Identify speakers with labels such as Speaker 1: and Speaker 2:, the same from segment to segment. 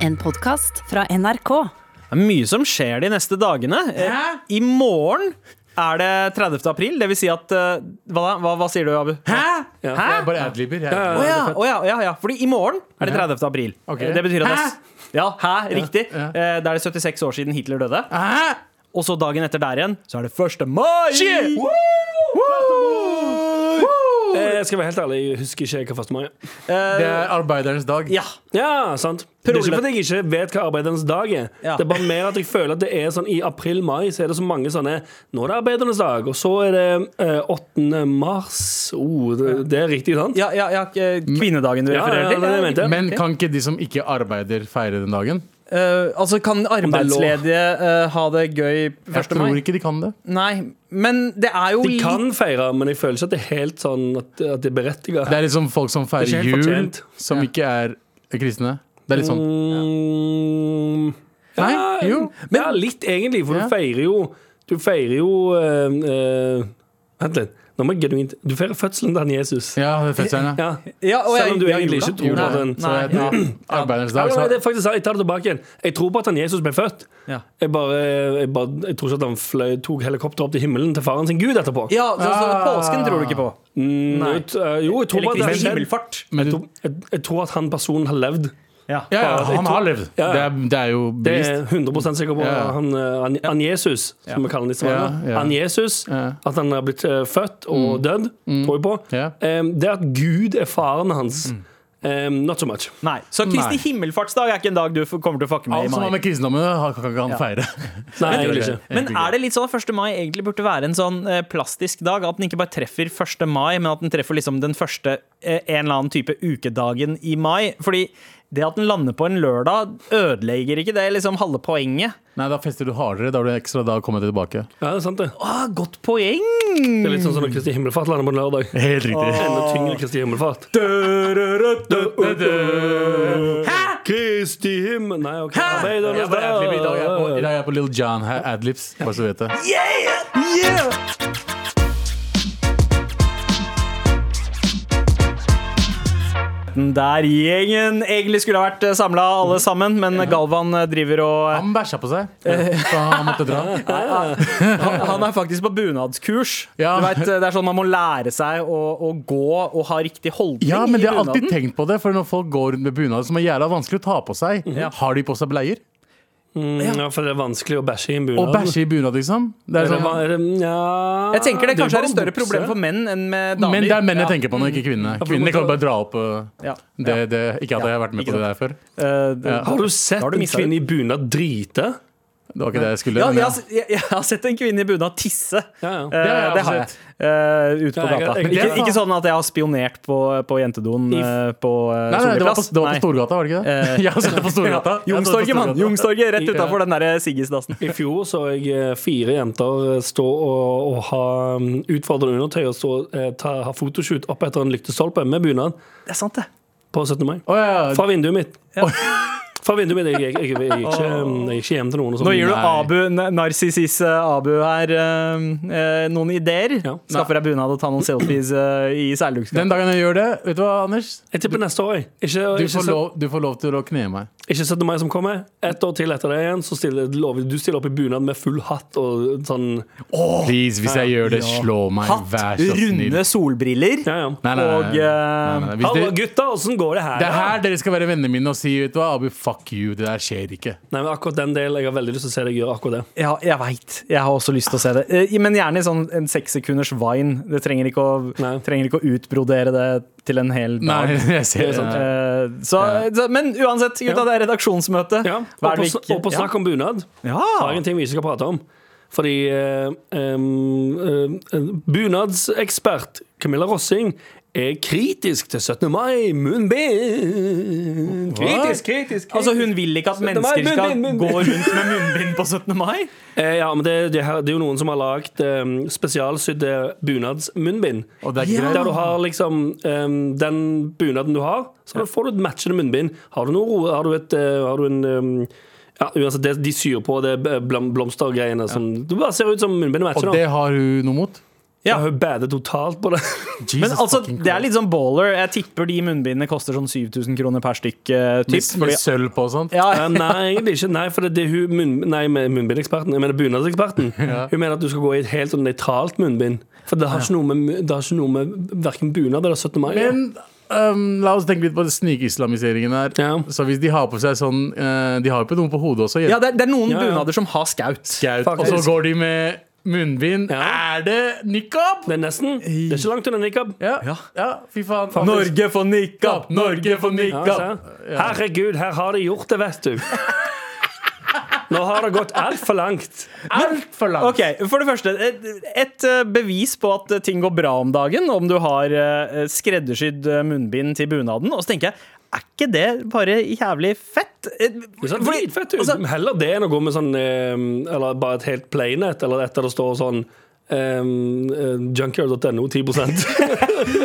Speaker 1: En podkast fra NRK.
Speaker 2: Det er mye som skjer de neste dagene. Eh, I morgen er det 30. april. Det vil si at eh, hva, da? hva, hva sier du, Abu? Hæ?
Speaker 3: Ja,
Speaker 2: Hæ?
Speaker 3: Jeg bare adlibber. Jeg.
Speaker 2: Å ja, å ja, ja, ja. Fordi i morgen er det 30. april.
Speaker 3: Ok.
Speaker 2: Eh, Det betyr at
Speaker 3: Hæ?
Speaker 2: det, Ja, hæ? Riktig.
Speaker 3: Ja.
Speaker 2: Eh, Da er det 76 år siden Hitler døde.
Speaker 3: Hæ?
Speaker 2: Og så dagen etter der igjen, så er det 1. mai!
Speaker 3: Shit!
Speaker 2: Woo!
Speaker 3: Det
Speaker 2: Eh,
Speaker 4: Jeg skal være helt ærlig, jeg husker ikke hva 1. mai er.
Speaker 2: eh,
Speaker 3: er arbeiderens dag.
Speaker 2: Ja.
Speaker 4: Ja, sant. Det er
Speaker 2: Prolet.
Speaker 4: ikke fordi jeg ikke vet hva arbeidernes dag er.
Speaker 2: Ja.
Speaker 4: Det er bare mer at jeg føler at det er sånn i april-mai så er det så mange sånne Nå er det arbeidernes dag, og så er det eh, 8. mars. Oh, det, det er riktig, sant?
Speaker 2: Ja, ja, ja, eh, kvinnedagen du
Speaker 4: Ja, ja,
Speaker 2: refererer
Speaker 4: det er det jeg
Speaker 2: til.
Speaker 4: mente.
Speaker 3: Men kan ikke de som ikke arbeider, feire den dagen?
Speaker 2: Eh, altså, kan arbeidsledige eh, ha det gøy 1.
Speaker 3: Jeg tror
Speaker 2: mai?
Speaker 3: ikke de kan det.
Speaker 2: Nei, men det er jo
Speaker 4: De
Speaker 2: litt-
Speaker 4: kan feire, men jeg føler ikke at det er helt sånn at, at det er berettiget.
Speaker 3: Det er liksom folk som
Speaker 4: Det
Speaker 3: feirer
Speaker 4: er ikke helt
Speaker 3: jul,
Speaker 4: fortjent.
Speaker 3: som ikke er kristne. Det er litt sånn.
Speaker 4: Mm, ja,
Speaker 3: Nei, jo,
Speaker 4: ja, litt egentlig, for
Speaker 3: Ja.
Speaker 4: du feirer jo Du feirer jo eh, eh, Vent litt. Nå må jeg genuint Du feirer fødselen til han Jesus.
Speaker 3: Ja, det er fødselen, ja.
Speaker 4: Ja.
Speaker 2: Ja, og
Speaker 4: Selv om du
Speaker 2: jeg-
Speaker 4: egentlig
Speaker 2: jeg
Speaker 4: ikke
Speaker 2: gjorde
Speaker 4: tror på
Speaker 2: det.
Speaker 4: den.
Speaker 3: Så det
Speaker 2: Nei,
Speaker 3: er
Speaker 2: ja.
Speaker 3: arbeidernes
Speaker 4: Ja,
Speaker 3: dag.
Speaker 4: nei,
Speaker 3: Så
Speaker 4: det er faktisk, sant, jeg tar det tilbake igjen. Jeg tror på at han Jesus ble født.
Speaker 2: Ja.
Speaker 4: Jeg bare, jeg bare jeg tror ikke at han fløy, tok helikopter opp til himmelen til faren sin gud etterpå.
Speaker 2: Ja, så, så
Speaker 3: Ah.
Speaker 2: påsken tror du ikke på.
Speaker 4: Mm,
Speaker 2: Nei.
Speaker 4: jeg t- eh, jo, jeg tror bare at
Speaker 2: Eller
Speaker 4: det
Speaker 2: Kristi
Speaker 4: skjedde.
Speaker 2: himmelfart.
Speaker 3: men
Speaker 4: Jeg,
Speaker 3: du,
Speaker 4: tror- jeg, jeg tror at han personen har levd.
Speaker 2: Ja.
Speaker 3: ja, ja,
Speaker 4: Jeg
Speaker 3: han
Speaker 4: tror-
Speaker 3: har levd. Det
Speaker 4: Ja, ja.
Speaker 3: er, det er jo
Speaker 4: Det
Speaker 3: bevist.
Speaker 4: er jeg 100 sikker på.
Speaker 3: Ja.
Speaker 4: Han, eh, han, han Jesus, som vi kaller han i Stavanger.
Speaker 3: Ja, ja.
Speaker 4: Han Jesus,
Speaker 3: Ja.
Speaker 4: at han har blitt eh, født og dødd, tror jeg på.
Speaker 3: Ja.
Speaker 4: Em, det at Gud er faren hans, em, not so much.
Speaker 2: Nei. Så Kristi
Speaker 3: Nei. Altså,
Speaker 2: himmelfartsdag er ikke en dag du f- kommer til å fucke med
Speaker 3: Alt som
Speaker 2: i
Speaker 3: har
Speaker 2: mai.
Speaker 3: med kristendommen å gjøre, kan ikke han feire.
Speaker 4: Nei, egentlig ikke.
Speaker 2: Men er det litt sånn at 1. mai egentlig burde være en sånn eh, plastisk dag? At den ikke bare treffer 1. mai, men at den treffer liksom den første eh, en eller annen type ukedagen i mai? Fordi det at den lander på en lørdag, ødelegger ikke det liksom halve poenget?
Speaker 3: Nei, da fester du hardere. Da blir det ekstra dag å komme tilbake.
Speaker 4: Ja, det er sant, det.
Speaker 2: Ah, godt poeng!
Speaker 4: Det er litt sånn som når Kristi himmelfart lander på en lørdag.
Speaker 3: Helt riktig.
Speaker 4: Enda tyngre Kristi himmelfart. Kristi himmel... Nei, OK.
Speaker 3: Jeg
Speaker 4: Arbeidernes
Speaker 3: var adlib I dag er jeg på, i
Speaker 4: dag.
Speaker 3: dag er jeg på Little John her, adlibs, bare så du vet det.
Speaker 2: Der gjengen egentlig skulle ha vært samla alle sammen, men Galvan eh, driver og
Speaker 3: Han bæsja på seg, så han måtte dra.
Speaker 2: Han, han er faktisk på bunadskurs.
Speaker 3: Ja.
Speaker 2: Du vet, det er sånn Man må lære seg å, å gå og ha riktig holdning
Speaker 3: Ja, men
Speaker 2: i
Speaker 3: jeg har alltid
Speaker 2: bunaden.
Speaker 3: tenkt på det, for når folk går rundt med bunad som er jævla vanskelig å ta på seg, har de på seg bleier?
Speaker 4: Mm, Ja, for det er vanskelig å bæsje i en
Speaker 3: Og
Speaker 4: bunad.
Speaker 3: bæsje i bunad, liksom? Det er
Speaker 4: Eller
Speaker 3: sånn,
Speaker 4: hva er det? Nja
Speaker 2: Jeg tenker det
Speaker 4: er jo
Speaker 2: kanskje er
Speaker 4: bare
Speaker 2: et større
Speaker 4: bukse.
Speaker 2: problem for menn enn med damer.
Speaker 3: men det er menn
Speaker 2: Ja.
Speaker 3: jeg tenker på, nå, ikke kvinnene. Kvinnene kan bare dra opp øh,
Speaker 2: Ja.
Speaker 3: det, det, Ikke at jeg har vært med på det der før.
Speaker 2: Eh, det-
Speaker 3: Ja.
Speaker 4: Har du
Speaker 2: Da
Speaker 4: sett
Speaker 2: har du
Speaker 4: en
Speaker 2: mistet
Speaker 4: kvinne i bunad drite?
Speaker 3: Det var ikke det jeg skulle.
Speaker 2: Ja,
Speaker 3: men
Speaker 2: jeg,
Speaker 3: ja.
Speaker 2: har, jeg, jeg har sett en kvinne i bunad tisse.
Speaker 4: Ja, ja.
Speaker 2: Eh,
Speaker 3: Det har jeg
Speaker 2: det har jeg.
Speaker 3: også
Speaker 2: Eh, ute på
Speaker 4: Ja, jeg-
Speaker 2: gata. ikke,
Speaker 4: jeg- jeg-
Speaker 2: ikke sånn at jeg har spionert på, på jentedoen
Speaker 4: I-
Speaker 2: eh, på eh,
Speaker 3: Nei, nei, det var
Speaker 2: Solli
Speaker 3: på,
Speaker 2: plass.
Speaker 3: det var
Speaker 2: Nei.
Speaker 3: på Storgata, var det ikke
Speaker 2: Eh,
Speaker 3: det? Jeg har sett det på Storgata. Jeg har sett det på
Speaker 2: Youngstorget, mann!
Speaker 3: Storgata.
Speaker 2: Youngstorget, Rett
Speaker 4: Ja.
Speaker 2: utafor den der eh, Siggisdassen.
Speaker 4: I fjor så jeg eh, fire jenter eh, stå og, og ha mm, utfordrende undertøy og stå, eh, ta, ha fotoshoot opp etter en lyktestolpe med bunad
Speaker 2: Det er sant, det.
Speaker 4: på 17. mai.
Speaker 3: Å, ja, ja.
Speaker 4: Fra vinduet mitt. Fra vinduet mitt. Jeg, jeg, jeg, jeg, gikk ikke, jeg gikk ikke hjem til noen. Og sånn,
Speaker 2: Nå gir du
Speaker 3: Nei.
Speaker 2: Abu, n- narsis eh, Abu her eh, eh, noen ideer.
Speaker 4: Ja.
Speaker 2: Skaffer deg bunad og ta noen selfies eh, i seilduksgata.
Speaker 3: Den dagen jeg gjør det, vet du hva, Anders?
Speaker 4: jeg tipper neste år, jeg. Ikke,
Speaker 3: Du
Speaker 4: ikke,
Speaker 3: får
Speaker 4: se-
Speaker 3: lov, du får lov til å kne meg.
Speaker 4: ikke 17. mai som kommer. Ett år til etter det igjen, så stiller lover, du stiller opp i bunad med full hatt og sånn
Speaker 3: Please, hvis jeg gjør det, slå meg.
Speaker 2: Hatt,
Speaker 3: Vær så snill.
Speaker 2: runde solbriller
Speaker 4: Ja, ja.
Speaker 3: Nei, nei, nei,
Speaker 2: og
Speaker 3: nei,
Speaker 2: eh,
Speaker 3: nei, nei, nei. Hvis
Speaker 4: Hallo,
Speaker 3: dere-
Speaker 4: gutta, åssen går det her?
Speaker 3: Det er
Speaker 4: da?
Speaker 3: her dere skal være vennene mine og si vet du hva, Abu, fuck you, det der skjer ikke.
Speaker 4: Nei, men akkurat den delen. Jeg har veldig lyst til å se deg gjøre akkurat det.
Speaker 2: Ja, jeg veit. Jeg har også lyst til å se det. Eh, Men gjerne i sånn en sekssekunders vine. Det trenger ikke, å,
Speaker 4: Nei.
Speaker 2: trenger ikke å utbrodere det til en hel dag.
Speaker 3: Nei, jeg ser
Speaker 4: Det er sant.
Speaker 3: det. sånn.
Speaker 2: Eh, Så, så, men uansett, gutta,
Speaker 4: Ja.
Speaker 2: det er redaksjonsmøte.
Speaker 4: Ja.
Speaker 2: Hva
Speaker 4: Og
Speaker 2: er
Speaker 4: på,
Speaker 2: det vi ikke-
Speaker 4: og på snakk om bunad
Speaker 2: ja.
Speaker 4: har jeg en ting vi ikke skal prate om. Fordi eh, em, eh, bunadsekspert Camilla Rossing er kritisk til 17. mai, munnbind. Kritisk, kritisk, kritisk.
Speaker 2: Altså, hun vil ikke at
Speaker 4: 17. mai,
Speaker 2: mennesker skal
Speaker 4: munnbind,
Speaker 2: gå
Speaker 4: munnbind.
Speaker 2: rundt med munnbind på 17. mai.
Speaker 4: eh, ja, men det, det, her, det er jo noen som har lagd um, spesialsydde bunadsmunnbind.
Speaker 3: Og det er ikke
Speaker 4: Der du
Speaker 3: greit.
Speaker 4: har liksom em, den bunaden du har, så får du et matchende munnbind. Har du noe ro- Har du, et, eh, har du en em, ja, uansett, det, De syr på det blom, blomstergreiene som Du bare ser ut som munnbindet matcher.
Speaker 3: Og
Speaker 4: da.
Speaker 3: det har hun noe mot?
Speaker 2: Ja.
Speaker 4: Ja, hun bader totalt på det.
Speaker 2: Men
Speaker 3: Jesus
Speaker 2: altså,
Speaker 3: fucking
Speaker 2: det er litt sånn baller. Jeg tipper de munnbindene koster sånn 7000 kroner per stykk. eh, typ,
Speaker 3: Christ. Med
Speaker 2: fordi,
Speaker 3: sølv på og sånt.
Speaker 2: ja,
Speaker 4: Eh, nei, egentlig ikke. Nei, for det, det er hun munn, Nei, men munnbindeksperten. Jeg mener bunadseksperten. Hun mener at du skal gå i et helt sånn nøytralt munnbind. For det har ikke noe med, mu- det har ikke noe med verken bunad eller 17. mai å gjøre.
Speaker 3: Men ehm, la oss tenke litt på det snikislamiseringen her.
Speaker 4: Ja.
Speaker 3: Så hvis de har på seg sånn eh, De har jo på noe på hodet også.
Speaker 2: ja, det, er, det er noen
Speaker 4: Ja, ja.
Speaker 2: bunader som har skaut.
Speaker 3: Gaut, og så
Speaker 4: faktisk.
Speaker 3: går de med munnbind.
Speaker 4: Ja.
Speaker 3: Er det nikab?
Speaker 4: Det er nesten. Det er ikke langt unna nikab.
Speaker 3: Ja.
Speaker 2: Ja.
Speaker 3: ja. fy faen.
Speaker 2: for nikab!
Speaker 3: Norge for
Speaker 4: Ja,
Speaker 3: nikab!
Speaker 4: se. Herregud, her har de gjort det, vet du. Nå har det gått altfor langt.
Speaker 3: Altfor langt.
Speaker 2: Ok, For det første, et, et eh, bevis på at eh, ting går bra om dagen, om du har eh, skreddersydd eh, munnbind til bunaden. Og så tenker jeg, er ikke det bare jævlig fett? Eh,
Speaker 4: Det ser
Speaker 2: fordi-
Speaker 4: dritfett ut.
Speaker 2: altså-
Speaker 4: Heller det enn å gå med sånn eh, Eller bare et helt plain et, eller et der det står sånn Um, Junker.no 10 Det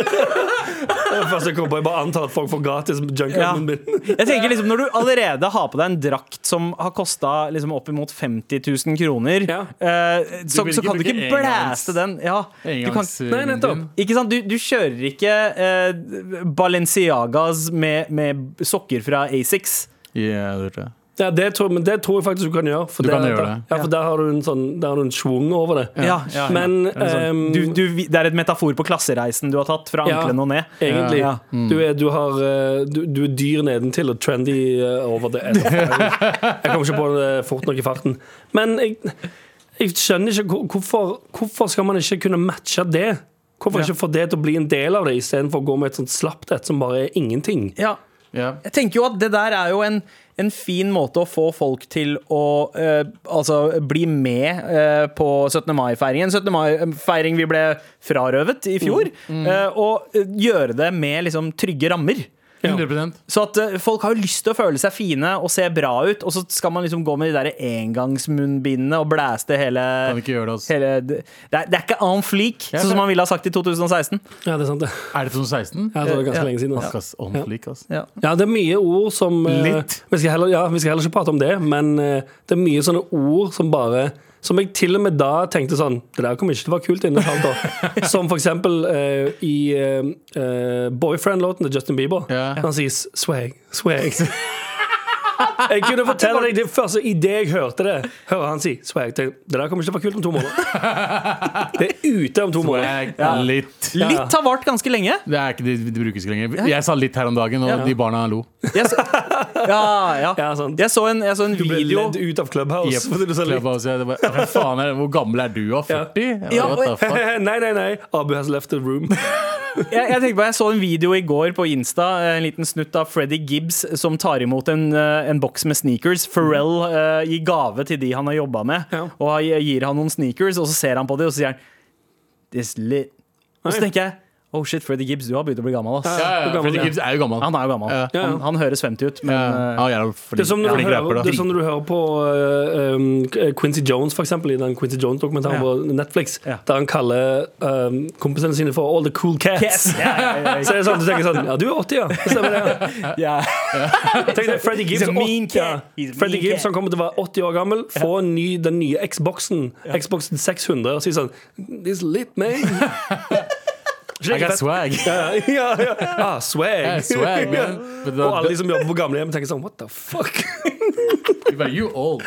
Speaker 4: første jeg kom på. Jeg bare antar at folk får gratis
Speaker 2: Ja.
Speaker 4: junker. min.
Speaker 2: Jeg tenker liksom Når du allerede har på deg en drakt som har kosta liksom oppimot 50 000 kroner,
Speaker 4: Ja.
Speaker 2: eh, så,
Speaker 3: vil
Speaker 2: så
Speaker 3: ikke
Speaker 2: kan du
Speaker 3: bruke
Speaker 2: ikke
Speaker 3: engangs-
Speaker 2: blæste den. Ja, du kan,
Speaker 3: Engangs-
Speaker 4: Nei, nettopp.
Speaker 3: munnbind.
Speaker 2: ikke sant? Du, du kjører ikke eh, Balenciagas med, med sokker fra Asics.
Speaker 3: Ja, det tror jeg.
Speaker 4: Ja, det tror, men det tror jeg faktisk du kan gjøre. For
Speaker 3: Du
Speaker 4: der,
Speaker 3: kan gjøre
Speaker 4: der,
Speaker 3: det.
Speaker 4: Ja, for der har du en sånn Der har du en schwung over det.
Speaker 2: Ja, ja, ja.
Speaker 4: Men
Speaker 3: sånn-
Speaker 4: ehm,
Speaker 2: Du, du, det er et metafor på klassereisen du har tatt fra
Speaker 4: Ja.
Speaker 2: ankelen og ned.
Speaker 4: Egentlig.
Speaker 2: Ja.
Speaker 4: Du, er, du, har, eh, du, du er dyr nedentil og trendy eh, over det. Jeg kommer ikke på det fort nok i farten. Men jeg, jeg skjønner ikke hvor- hvorfor, hvorfor skal man ikke kunne matche det? Hvorfor ikke få det til å bli en del av det, istedenfor å gå med et sånt slapt et som bare er ingenting?
Speaker 2: Ja.
Speaker 3: Ja.
Speaker 2: Jeg tenker jo at det der er jo en, en fin måte å få folk til å eh, altså bli med eh, på 17. mai-feiringen. 17. mai-feiring vi ble frarøvet i fjor. eh, og eh, gjøre det med liksom trygge rammer.
Speaker 3: 100
Speaker 2: Så at eh, folk har jo lyst til å føle seg fine og se bra ut, og så skal man liksom gå med de der engangsmunnbindene og blæste hele,
Speaker 3: Kan ikke gjøre det, ass.
Speaker 2: hele det, er, det er ikke en flik,
Speaker 3: Ja,
Speaker 2: sånn som
Speaker 3: for-
Speaker 2: man ville ha sagt i 2016.
Speaker 4: Ja, det er sant, det.
Speaker 3: Er det 2016?
Speaker 4: Ja, det var ganske
Speaker 2: Ja.
Speaker 4: lenge siden.
Speaker 3: Fuck,
Speaker 4: Altså.
Speaker 3: ass. Ordentlig, ass.
Speaker 2: Ja.
Speaker 4: Ja, det er mye ord som eh,
Speaker 3: Litt.
Speaker 4: Vi skal heller, ja, vi skal heller ikke prate om det, men eh, det er mye sånne ord som bare Som jeg til og med da tenkte sånn Det der kommer ikke til å være kult innen et halvt år. Som for eksempel eh, i eh, eh, boyfriend-låten til Justin Bieber.
Speaker 3: Ja.
Speaker 4: Han sier swag, swag. Jeg kunne fortelle deg det første Idet jeg hørte det, hører han si swag. tenkte jeg, Det der kommer ikke til å være kult om to måneder. Det er ute om to måneder.
Speaker 3: Ja. Litt.
Speaker 2: Litt har vart ganske lenge.
Speaker 3: Det er ikke, det, det brukes ikke lenger. Jeg sa litt her om dagen, og de barna lo.
Speaker 2: Jeg så, ja, ja.
Speaker 4: Ja, sant.
Speaker 2: Jeg så en, jeg så en
Speaker 4: Du ble
Speaker 2: video
Speaker 4: ledd ut av Clubhouse.
Speaker 3: Jepp.
Speaker 4: fordi du sa litt.
Speaker 3: Klabba, så jeg bare, Hva faen er det? Hvor gammel er du? da? 40? Jeg bare,
Speaker 2: Ja,
Speaker 3: what the fuck?
Speaker 4: nei, nei, nei. Abu has left the room.
Speaker 2: jeg, jeg tenkte på, jeg så en video i går på Insta, eh, en liten snutt av Freddy Gibbs som tar imot en, eh, en boks med sneakers. Pharrell eh, gir gave til de han har jobba med,
Speaker 4: Ja.
Speaker 2: og han gir han noen sneakers, og så ser han på de, og så sier han This lit. Og så
Speaker 4: Oi.
Speaker 2: tenker jeg Oh shit, Freddy Gibbs, du har begynt å bli gammel. ass
Speaker 3: Ja, ja,
Speaker 4: Hvor gammel
Speaker 3: Freddy
Speaker 4: er han?
Speaker 3: Gibbs er jo gammel.
Speaker 2: Han er jo gammel.
Speaker 3: Ja.
Speaker 2: Han, han høres 50 ut, men
Speaker 3: Ja,
Speaker 2: eh,
Speaker 3: han er jo flink,
Speaker 4: Det er som når du
Speaker 3: flink
Speaker 4: hører,
Speaker 3: rapper,
Speaker 4: det er
Speaker 3: da.
Speaker 4: som når du hører på eh, um, Quincy Jones, for eksempel, i den Quincy Jones-dokumentaren
Speaker 2: Ja.
Speaker 4: på Netflix,
Speaker 2: Ja.
Speaker 4: der han kaller um, kompisene sine for All the cool cats.
Speaker 2: yes! Ja, ja,
Speaker 4: Så er det sånn, du tenker sånn Ja, du er 80, ja. Stemmer det.
Speaker 2: ja, ja.
Speaker 4: Tenk deg Freddy Gibbs,
Speaker 2: He's a mean
Speaker 4: åt- ja.
Speaker 2: cat. He's a mean
Speaker 4: Freddy
Speaker 2: cat.
Speaker 4: Gibbs som kommer til å være 80 år gammel, får en ny, den nye Xboxen, Xboxen 600, og sier sånn This lit, man.
Speaker 3: I got swag.
Speaker 4: Ja, ja, ja.
Speaker 3: Yeah,
Speaker 4: Ah, swag.
Speaker 3: swag, man. But
Speaker 4: Og alle de
Speaker 3: the,
Speaker 4: som jobber på gamlehjem, tenker sånn What the fuck?
Speaker 3: but you old.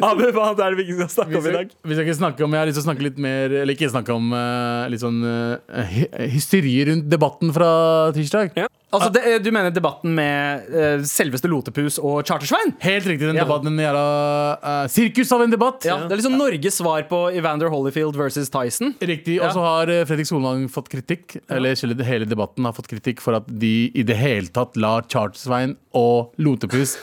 Speaker 2: Abu, hva annet er det vi ikke skal snakke om i dag?
Speaker 3: Vi skal ikke snakke om, jeg har lyst til å snakke litt mer Eller ikke snakke om eh, litt sånn eh, hy- hysteri rundt debatten fra tirsdag.
Speaker 4: Ja.
Speaker 2: Altså, det, Du mener debatten med eh, selveste Lotepus og Chartersvein?
Speaker 3: Helt riktig, den debatten. Den jævla eh, sirkus av en debatt.
Speaker 2: Ja, Det er liksom Norges svar på Evander Holyfield versus Tyson.
Speaker 3: Riktig. Og så har eh, Fredrik Solvang fått kritikk, eller hele- hele debatten har fått kritikk for at de i det hele tatt lar Chartsvein og Lotepus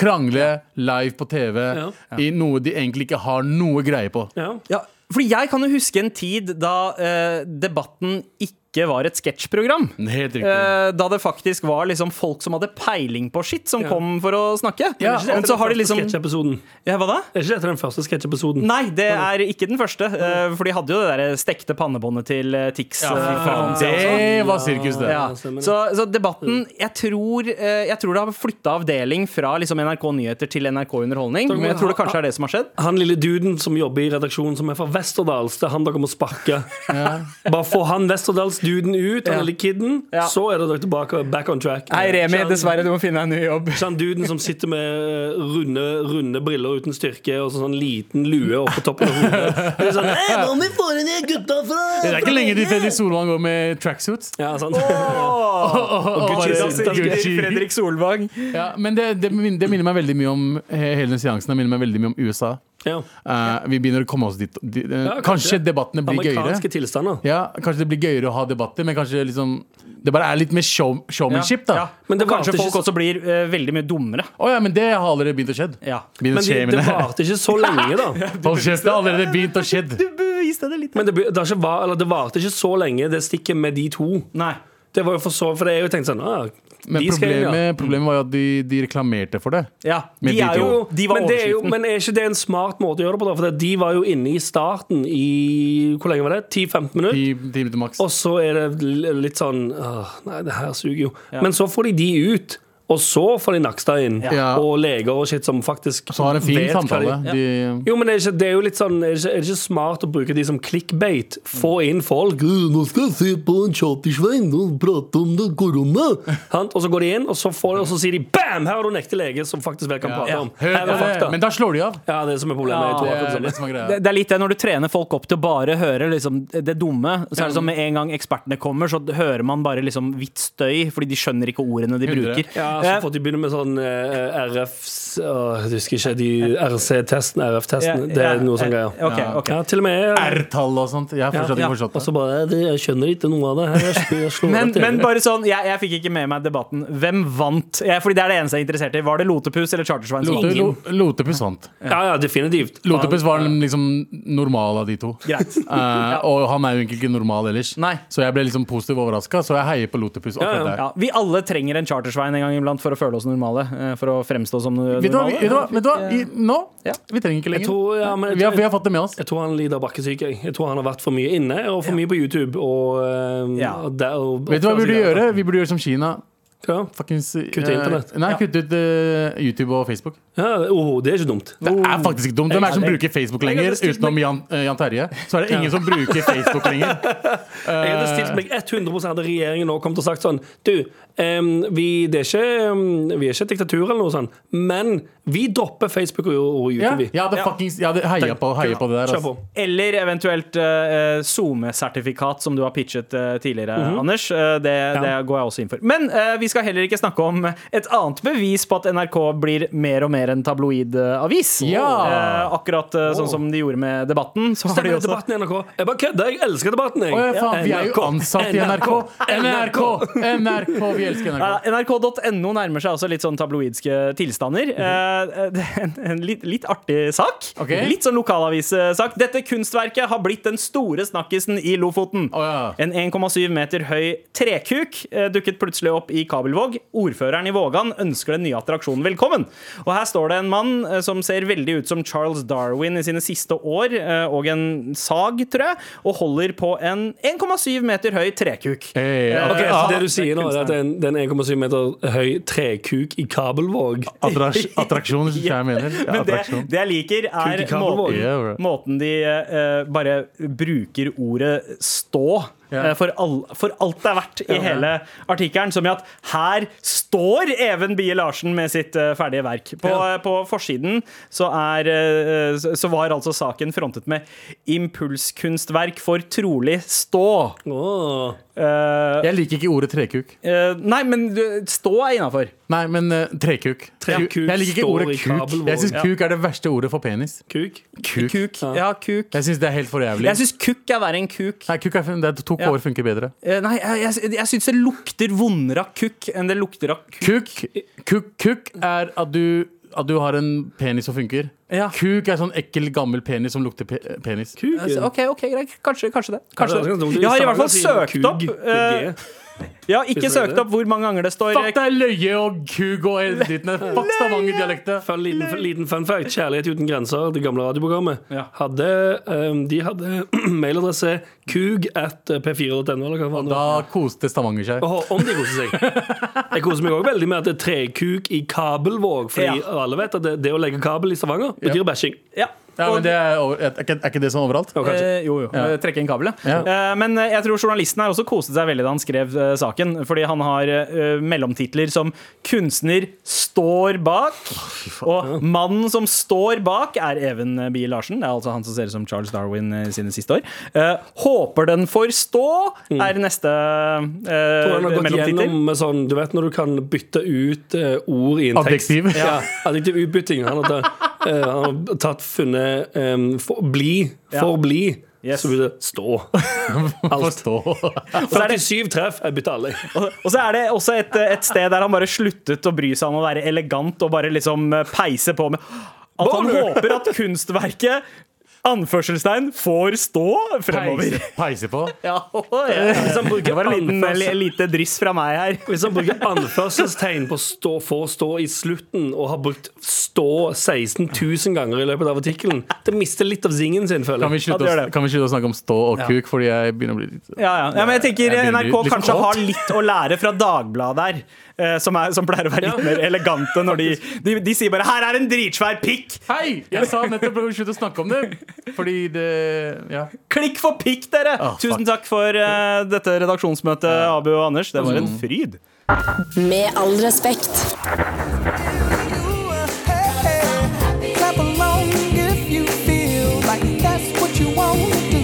Speaker 3: krangle live på TV
Speaker 4: Ja.
Speaker 3: i noe de egentlig ikke har noe greie på.
Speaker 4: Ja.
Speaker 2: Ja, fordi jeg kan jo huske en tid da eh, debatten ikke ikke var et sketsjprogram.
Speaker 3: Helt riktig.
Speaker 2: Eh, Da det faktisk var liksom folk som hadde peiling på skitt, som
Speaker 4: Ja.
Speaker 2: kom for å snakke.
Speaker 3: Ja,
Speaker 2: Men så har de liksom
Speaker 4: Sketsjepisoden.
Speaker 2: ja, Hva da?
Speaker 4: Er ikke dette den første sketsjepisoden?
Speaker 2: Nei, det er ikke den første. eh, For de hadde jo det der stekte pannebåndet til eh, Tix. eh, fra Hansia også.
Speaker 3: det var sirkus, det.
Speaker 2: Ja. Mm.
Speaker 4: Ja, stemmer det.
Speaker 2: Så, så debatten Jeg tror, eh, jeg tror det har flytta avdeling fra liksom NRK Nyheter til NRK Underholdning.
Speaker 4: Takk,
Speaker 2: Men jeg
Speaker 4: men-
Speaker 2: tror det kanskje er det som har skjedd.
Speaker 4: Han lille duden som jobber i redaksjonen, som er fra Westerdals, det er han dere må sparke. Bare få han Westerdals-duden ut, han lille kiden,
Speaker 2: Ja.
Speaker 4: så er dere tilbake back on track.
Speaker 2: Hei, Remi.
Speaker 4: Ikke han-
Speaker 2: Dessverre, du må finne deg en ny jobb.
Speaker 4: ikke han duden som sitter med eh, runde, runde briller uten styrke og sånn liten lue oppå toppen av hodet. Det er sånn, «Hei, nå må vi få de der gutta fra-
Speaker 3: Det er ikke lenge til Freddy Solvang går med tracksuits.
Speaker 4: Ja, sånn. sant?
Speaker 3: Bare- Gucci.
Speaker 2: Fredrik Solvang.
Speaker 3: Ja, men det, det, min- det minner meg veldig mye om he- hele den seansen. Det minner meg veldig mye om USA.
Speaker 4: Ja.
Speaker 3: Eh, vi begynner å komme oss dit. Di, eh,
Speaker 4: Ja,
Speaker 3: kanskje
Speaker 4: kanskje.
Speaker 3: debattene blir gøyere.
Speaker 4: Amerikanske tilstander.
Speaker 3: Ja, Kanskje det blir gøyere å ha debatter, men kanskje liksom Det bare er litt mer show, showmanship, da. Å ja.
Speaker 4: Men det
Speaker 2: og kanskje
Speaker 4: varte ikke
Speaker 2: folk
Speaker 4: så-
Speaker 2: også blir eh, veldig mye dummere.
Speaker 3: men det har allerede begynt å skjedd.
Speaker 2: Ja.
Speaker 3: Begynt
Speaker 4: Men
Speaker 3: å
Speaker 4: de,
Speaker 3: skje,
Speaker 4: det
Speaker 3: mine.
Speaker 4: varte ikke så lenge, da.
Speaker 3: Hold kjeft, det har allerede begynt å skjedd.
Speaker 2: beviste det litt.
Speaker 4: Men det, be- det, har ikke var, eller det varte ikke så lenge, det stikket med de to.
Speaker 2: Nei.
Speaker 4: Det var jo for så For det er jo tenkt sånn ah,
Speaker 3: Men
Speaker 4: de skal inn, ja. Mm.
Speaker 3: problemet, problemet var jo at de, de reklamerte for det.
Speaker 2: Ja,
Speaker 3: Men
Speaker 2: de
Speaker 3: de
Speaker 2: er jo
Speaker 4: Jo,
Speaker 2: De var
Speaker 4: men, det er jo,
Speaker 2: overskriften.
Speaker 4: men er ikke det en smart måte å gjøre det på? da? For det- de var jo inne i starten i Hvor lenge var det? 10-15 minutter?
Speaker 3: Ti ti minutter maks.
Speaker 4: Og så er det l- litt sånn «Åh, Nei, det her suger jo. Men så får de de ut. Og så får de Nakstad inn.
Speaker 3: Ja.
Speaker 4: Og leger og shit som faktisk
Speaker 3: Så har en fin
Speaker 4: vet hva
Speaker 3: samtale.
Speaker 4: de-
Speaker 3: De,
Speaker 4: Jo, men det er, ikke, det er jo litt sånn Er det ikke, er det ikke smart å bruke de som clickbait? Få inn folk. «Øh, 'Nå skal jeg se på en Tjatisvein og prate om det korona.' Sant? Og så går de inn, og så, får, og så sier de 'bam! Her har du en ekte lege som faktisk vel kan prate
Speaker 3: ja.
Speaker 4: om'.
Speaker 3: Hør på
Speaker 4: Her er
Speaker 3: det.
Speaker 4: fakta.
Speaker 3: Men da slår de av.
Speaker 4: Ja, det er det som er problemet. Jeg tror
Speaker 3: Det
Speaker 4: akkurat
Speaker 3: er
Speaker 4: det
Speaker 3: det
Speaker 4: samme.
Speaker 3: som er
Speaker 2: det,
Speaker 3: greia.
Speaker 2: det er litt det når du trener folk opp til å bare høre liksom, det dumme. Så er det sånn med en gang ekspertene kommer, så hører man bare liksom hvitt støy, fordi de skjønner ikke ordene de
Speaker 3: Hundre.
Speaker 2: bruker.
Speaker 4: Ja, så får de begynne med sånn eh, RFs åh, Jeg husker ikke de RC-testen, RF-testen. Det er noe sånn greier.
Speaker 2: Ok,
Speaker 3: Ja.
Speaker 2: ok.
Speaker 4: Ja, til og med
Speaker 3: R-tall og sånt. Jeg har fortsatt
Speaker 2: Ja,
Speaker 3: ikke
Speaker 2: ja.
Speaker 3: forstått
Speaker 4: Og
Speaker 3: det.
Speaker 4: så bare det, Jeg skjønner ikke noe av det. her Jeg slår- jeg slår
Speaker 2: Men,
Speaker 4: etter.
Speaker 2: men bare sånn, jeg, jeg fikk ikke med meg debatten. Hvem vant? Jeg, fordi det er det eneste jeg er interessert i. Var det Lotepus eller Chartersvein? som
Speaker 3: Lote,
Speaker 2: vant?
Speaker 3: lo, Lotepus vant.
Speaker 4: Ja, ja, definitivt.
Speaker 3: Lotepus var den liksom normal av de to.
Speaker 2: Greit.
Speaker 3: Eh, og han er jo egentlig ikke normal ellers,
Speaker 2: Nei.
Speaker 3: så jeg ble liksom positivt overraska. Så jeg heier på Lotepus akkurat
Speaker 4: Ja, ja.
Speaker 3: der.
Speaker 2: Ja, vi alle trenger en Chartersvein en gang iblant for å føle oss normale. eh, For å fremstå som
Speaker 3: Vet du hva, vet du hva,
Speaker 2: normale.
Speaker 3: vet du hva? I, nå
Speaker 2: Ja.
Speaker 3: Vi trenger ikke lenger.
Speaker 4: tror- ja, men jeg
Speaker 3: vi, har,
Speaker 4: tror-
Speaker 3: vi har fått det med oss.
Speaker 4: Jeg tror han lider av bakkesyke. jeg. Jeg tror han har vært for mye inne og for mye på YouTube. Og, eh,
Speaker 2: Ja.
Speaker 4: og der, og,
Speaker 3: Vet du hva vi burde gjøre? Vi burde gjøre som Kina.
Speaker 4: Ja.
Speaker 3: Fuckings,
Speaker 4: Kutte
Speaker 3: eh,
Speaker 4: internett.
Speaker 3: Nei,
Speaker 2: Ja.
Speaker 3: kutte ut eh, YouTube og Facebook.
Speaker 4: Ja, åh, det er ikke dumt.
Speaker 3: Det er faktisk ikke dumt. Hvem er det som
Speaker 2: Jeg-
Speaker 3: bruker Facebook
Speaker 2: jeg hadde
Speaker 3: lenger,
Speaker 2: stilt
Speaker 3: utenom Jan, eh, Jan Terje? Så er det ingen som bruker Facebook lenger.
Speaker 4: Jeg hadde stilt meg 100 hadde regjeringen nå kommet og sagt sånn Du, em, vi, det er ikke, em, vi er ikke et diktatur eller noe sånt, men vi dropper Facebook og, og
Speaker 3: Ja,
Speaker 4: YouTube. vi.
Speaker 3: jeg hadde, fuckings, jeg hadde heia, på, heia på det der.
Speaker 4: Kjør
Speaker 3: Altså.
Speaker 4: på.
Speaker 2: Eller eventuelt eh, eh, SoMe-sertifikat, som du har pitchet eh, tidligere,
Speaker 3: Mhm.
Speaker 2: Anders. Eh, det, det går jeg også inn for. Men eh, vi skal heller ikke snakke om et annet bevis på at NRK blir mer og mer en tabloid eh, avis.
Speaker 3: Ja.
Speaker 2: Eh, akkurat eh, sånn som de gjorde med Debatten. Så har de
Speaker 4: Stemmer
Speaker 2: også
Speaker 4: debatten i NRK. Jeg bare kødder, jeg elsker debatten, jeg.
Speaker 3: Å ja, faen, vi er jo
Speaker 4: NRK.
Speaker 3: ansatt i NRK. NRK!
Speaker 4: NRK.
Speaker 3: NRK, Vi elsker NRK.
Speaker 2: Ja, NRK.no nærmer seg også litt sånn tabloidske tilstander. Eh, det er en, en litt, litt artig sak.
Speaker 3: Mhm. Ok.
Speaker 2: Litt sånn lokalavissak. Dette kunstverket har blitt den store snakkisen i Lofoten.
Speaker 3: Å, ja.
Speaker 2: En 1,7 meter høy trekuk eh, dukket plutselig opp i Kabelvåg. Ordføreren i Vågan ønsker den nye attraksjonen velkommen. Og her står det en mann eh, som ser veldig ut som Charles Darwin i sine siste år, eh, og en sag, tror jeg, og holder på en 1,7 meter høy trekuk. Eh,
Speaker 3: Hey,
Speaker 4: Ok,
Speaker 3: attra-
Speaker 4: så det du sier nå, er at det er en- det er en 1,7 meter høy trekuk i Kabelvåg.
Speaker 3: attraks- Attraksjon, synes jeg jeg mener. Ja,
Speaker 2: Men det,
Speaker 3: attraksjon.
Speaker 2: det jeg liker, er
Speaker 4: Kuk i kabel,
Speaker 2: måten,
Speaker 3: yeah, bro.
Speaker 2: måten de eh, bare bruker ordet 'stå'
Speaker 3: Ja.
Speaker 2: eh, for, all, for alt det er verdt i hele artikkelen. Som i at her står Even Bie Larsen med sitt eh, ferdige verk. På,
Speaker 4: Ja.
Speaker 2: eh, på forsiden så, er, eh, så- så var altså saken frontet med 'impulskunstverk for trolig stå'.
Speaker 4: Åh.
Speaker 2: Eh,
Speaker 3: Jeg liker ikke ordet trekuk.
Speaker 2: eh, nei, men du, stå er innafor.
Speaker 3: Nei, men eh, trekuk.
Speaker 4: Trekuk
Speaker 3: Ku- jeg liker ikke
Speaker 4: står
Speaker 3: ordet
Speaker 4: i
Speaker 3: kuk.
Speaker 4: kabelvåg.
Speaker 3: Jeg syns
Speaker 4: Ja.
Speaker 3: kuk er det verste ordet for penis.
Speaker 4: Kuk.
Speaker 3: Kuk.
Speaker 2: Kuk.
Speaker 4: Ja.
Speaker 2: Ja, kuk.
Speaker 3: Jeg syns det er helt for jævlig.
Speaker 2: Jeg syns kukk er verre enn kuk.
Speaker 3: Nei, kuk er, fin- det er to
Speaker 2: Ja.
Speaker 3: k-er funker bedre.
Speaker 2: Eh, Nei, jeg, jeg, jeg syns det lukter vondere av kukk enn det lukter av kuk.
Speaker 3: Kuk, kuk, kuk er at du, at du har en penis som funker.
Speaker 2: Ja.
Speaker 3: Kuk er sånn ekkel, gammel penis som lukter pe penis.
Speaker 4: Kuken.
Speaker 2: Eh, OK, ok, greit. Kanskje, kanskje det. Kanskje
Speaker 4: Ja, det er sånn ganske
Speaker 2: det.
Speaker 4: dumt.
Speaker 2: Jeg har i hvert fall
Speaker 4: Stavanger sier
Speaker 2: søkt opp.
Speaker 4: kug med
Speaker 2: eh,
Speaker 4: G.
Speaker 2: Jeg har ikke
Speaker 4: Hvis dere
Speaker 2: søkt opp hvor mange ganger det står
Speaker 3: Fuck deg, løye og kuk og editene. Fuck Stavanger-dialektet.
Speaker 4: For en liten, liten fun fact. Kjærlighet uten grenser, det gamle radioprogrammet,
Speaker 2: Ja.
Speaker 4: hadde, ehm, de hadde mailadresse kug at eh, p4.no. eller hva faen det
Speaker 3: Da
Speaker 4: var.
Speaker 3: koste Stavanger seg.
Speaker 4: Åh, om de koser seg. Jeg koser meg òg veldig med at det er trekuk i kabelvåg. Fordi
Speaker 2: Ja.
Speaker 4: alle vet at det, det å legge kabel i Stavanger betyr bæsjing.
Speaker 2: Ja.
Speaker 3: Ja,
Speaker 2: Og-
Speaker 3: men det er, over, er, ikke, er ikke det sånn overalt?
Speaker 4: Og kanskje-
Speaker 2: Eh, jo, jo.
Speaker 3: Ja.
Speaker 2: Eh, Trekke inn kabel, ja.
Speaker 3: Ja.
Speaker 2: Eh, men eh, jeg tror journalisten her også koset seg veldig da han skrev eh, saken. Fordi han har eh, mellomtitler som 'Kunstner står bak', og 'Mannen som står bak' er Even Bie Larsen. Det er altså han som ser ut som Charles Darwin eh, sine siste år. Eh, 'Håper den får stå' er neste eh,
Speaker 4: Mm. Tror han har gått
Speaker 2: mellomtittel.
Speaker 4: gjennom med sånn Du vet når du kan bytte ut eh, ord i en tekst?
Speaker 3: Adjektiv.
Speaker 4: Ja, adjektiv utbytting. Han har tatt, eh, han har tatt funnet em, for, bli,
Speaker 2: Ja.
Speaker 4: forbli.
Speaker 2: Yes.
Speaker 4: Så blir det stå. Alt.
Speaker 3: Forstå.
Speaker 4: 47 treff. Jeg bytter alle.
Speaker 2: Og og så er det også et, eh, et sted der han bare sluttet å bry seg om å være elegant og bare liksom eh, peise på med At han
Speaker 4: Boner!
Speaker 2: håper at kunstverket Anførselstegn får stå fremover.
Speaker 3: Peise, peise på.
Speaker 2: Ja, og, eh,
Speaker 4: Hvis han
Speaker 2: det
Speaker 4: bruker
Speaker 2: var en liten, eh,
Speaker 4: anførsel-
Speaker 2: li- lite dryss fra meg her.
Speaker 4: Hvis han bruker anførselstegn på stå, for stå i slutten, og har brukt stå 16 000 ganger i løpet av artikkelen, det mister litt av zingen sin, føler
Speaker 3: Kan vi,
Speaker 4: jeg.
Speaker 3: slutte
Speaker 2: Ja, det gjør
Speaker 3: å,
Speaker 2: det.
Speaker 3: kan vi slutte å snakke om stå og kuk, fordi jeg begynner å bli litt
Speaker 2: Ja, ja. ja, men jeg tenker
Speaker 3: Jeg begynner
Speaker 2: NRK
Speaker 3: litt
Speaker 2: kanskje
Speaker 3: kåt.
Speaker 2: har litt å lære fra Dagbladet der, eh, som, er, som pleier å være
Speaker 4: Ja.
Speaker 2: litt mer elegante når de, de De sier bare 'her er en dritsvær pikk'!
Speaker 3: Hei! Jeg sa nettopp at vi slutte å snakke om det. Fordi det Ja.
Speaker 2: Klikk for pikk, dere!
Speaker 3: Ah, fuck.
Speaker 2: Tusen takk for eh, dette redaksjonsmøtet, Abu og Anders. Det var en fryd.
Speaker 1: Med all respekt.
Speaker 5: Clap along if you feel like that's what you want to do.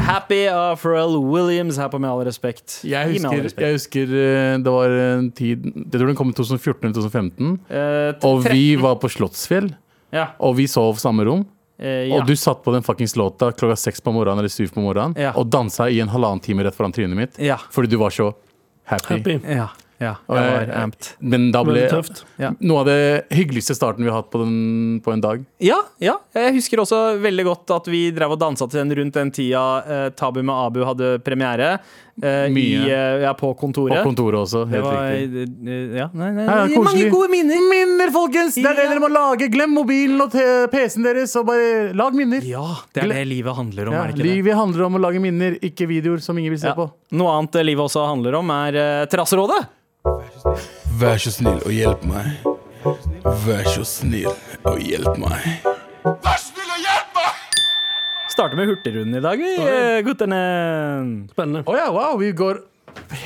Speaker 2: Happy av Pharrell Williams her på Med all respekt.
Speaker 3: Jeg
Speaker 2: I Med all
Speaker 3: husker,
Speaker 2: respekt.
Speaker 3: jeg husker eh, det var en tid Jeg tror den kom i 2014 eller 2015.
Speaker 2: Eh, t-
Speaker 3: Og
Speaker 2: tre-
Speaker 3: vi var på Slottsfjell,
Speaker 2: ja,
Speaker 3: og vi sov samme rom.
Speaker 2: eh, ja.
Speaker 3: Og du satt på den fuckings låta klokka seks på morgenen eller syv på morgenen
Speaker 2: Ja.
Speaker 3: og dansa i en halvannen time rett foran trynet mitt
Speaker 2: Ja.
Speaker 3: fordi du var så happy.
Speaker 4: Happy.
Speaker 2: ja, ja.
Speaker 3: Og
Speaker 2: Jeg
Speaker 3: jeg-
Speaker 2: var amped.
Speaker 3: Men da ble
Speaker 4: Veldig tøft.
Speaker 2: Ja.
Speaker 3: noe av det hyggeligste starten vi har hatt på, den, på en dag.
Speaker 2: Ja, ja. Jeg husker også veldig godt at vi drev og dansa til den rundt den tida eh, Tabu med Abu hadde premiere. eh, i,
Speaker 3: Mye.
Speaker 2: eh, ja, på kontoret.
Speaker 3: På kontoret også.
Speaker 2: det
Speaker 3: Helt
Speaker 2: var,
Speaker 3: riktig.
Speaker 2: eh, ja, nei, nei,
Speaker 3: Ja, ja,
Speaker 2: mange
Speaker 3: koselig.
Speaker 2: gode minner.
Speaker 3: Minner, folkens! Det er det
Speaker 2: Ja.
Speaker 3: dere må lage. Glem mobilen og te- PC-en deres, og bare lag minner.
Speaker 2: Ja, det er det livet handler om.
Speaker 3: Ja,
Speaker 2: er det ikke det?
Speaker 3: livet handler om å lage minner, ikke videoer som ingen vil se
Speaker 2: Ja.
Speaker 3: på.
Speaker 2: Noe annet eh, livet også handler om, er eh, Terrasserådet.
Speaker 6: Vær så snill og hjelp meg. Vær så snill og hjelp meg.
Speaker 2: Starter med Hurtigrunden i dag, vi, eh, guttene.
Speaker 4: Spennende.
Speaker 3: Å ja, wow, vi går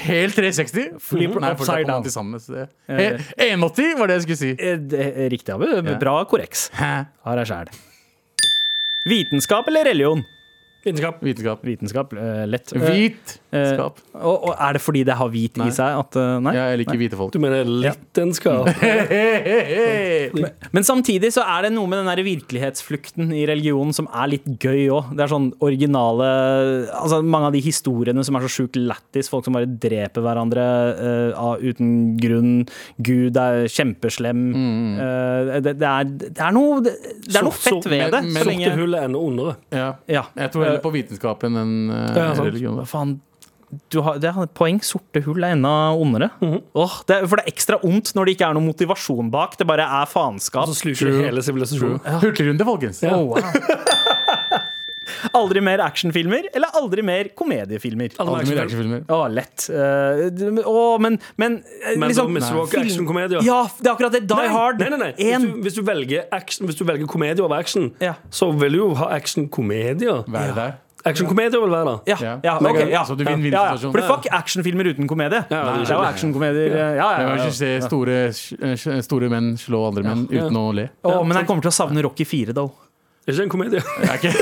Speaker 3: helt 360. Flip
Speaker 2: upside down.
Speaker 3: Til sammen, så det. He- 180 var det jeg skulle si.
Speaker 2: Eh, det er Riktig, Abu. Bra korreks. Har jeg sjæl. Vitenskap eller religion?
Speaker 4: Vitenskap.
Speaker 3: Vitenskap.
Speaker 2: Vitenskap, eh, lett. Eh, eh,
Speaker 3: Hvitskap.
Speaker 2: og, og er det fordi det har hvit i seg? At, eh, nei?
Speaker 3: Ja, jeg liker hvite folk.
Speaker 4: Du mener littenskap?
Speaker 2: Men samtidig så er det noe med den der virkelighetsflukten i religionen som er litt gøy òg. Det er sånn originale Altså mange av de historiene som er så sjukt lættis. Folk som bare dreper hverandre eh, av, uten grunn. Gud er kjempeslem.
Speaker 3: Mm.
Speaker 2: Eh, det, det, er, det er noe Det, det er noe
Speaker 4: Sort-
Speaker 2: fett ved det.
Speaker 3: men- men-
Speaker 2: Så lenge
Speaker 4: Sorte hull er enda ondere.
Speaker 3: Ja.
Speaker 2: Ja.
Speaker 3: Jeg tror heller på vitenskapen enn eh,
Speaker 4: Ja, sant.
Speaker 3: religion. da.
Speaker 2: Faen, du har, det er et poeng. Sorte hull er enda ondere.
Speaker 3: Mhm.
Speaker 2: Åh, det, er- for det er ekstra ondt når det ikke er noe motivasjon bak. Det bare er faenskap.
Speaker 4: Og
Speaker 3: Altså-
Speaker 4: så sluker det hele sivilisasjonen.
Speaker 3: Hurtigrunde, folkens.
Speaker 4: Ja.
Speaker 3: Oh, wow.
Speaker 2: Aldri mer actionfilmer eller aldri mer komediefilmer.
Speaker 4: Alle
Speaker 3: Aldri mer
Speaker 4: merker-
Speaker 3: actionfilmer.
Speaker 2: Å, lett. Eh, d- å, men, men eh,
Speaker 4: Men
Speaker 2: liksom,
Speaker 4: da Miss Rock
Speaker 2: Film-
Speaker 4: actionkomedier.
Speaker 2: Ja, det er akkurat det. Die
Speaker 4: Nei,
Speaker 2: Hard.
Speaker 4: Nei, nei, nei. Hvis,
Speaker 2: En.
Speaker 4: du, hvis, du velger action, hvis du velger komedie over action,
Speaker 2: Ja.
Speaker 4: så vil du jo ha actionkomedier.
Speaker 3: Være der.
Speaker 4: Actionkomedier vil være der.
Speaker 2: Ja,
Speaker 3: Ja.
Speaker 2: ja,
Speaker 3: Men-
Speaker 2: ok, ja.
Speaker 3: Så du vinner
Speaker 2: ja, ja.
Speaker 3: vinn-situasjonen.
Speaker 2: For det fuck actionfilmer uten komedie. det
Speaker 4: Ja, det
Speaker 2: er jo
Speaker 4: skjønner jeg.
Speaker 2: actionkomedier. eh, Ja, ja,
Speaker 3: Jeg
Speaker 2: ja,
Speaker 3: vil
Speaker 2: ja.
Speaker 3: ikke se store, eh, store menn slå andre menn
Speaker 4: Ja.
Speaker 3: uten å le.
Speaker 2: Å, men jeg kommer til å savne Rocky 4, da.
Speaker 4: Det er ikke en komedie.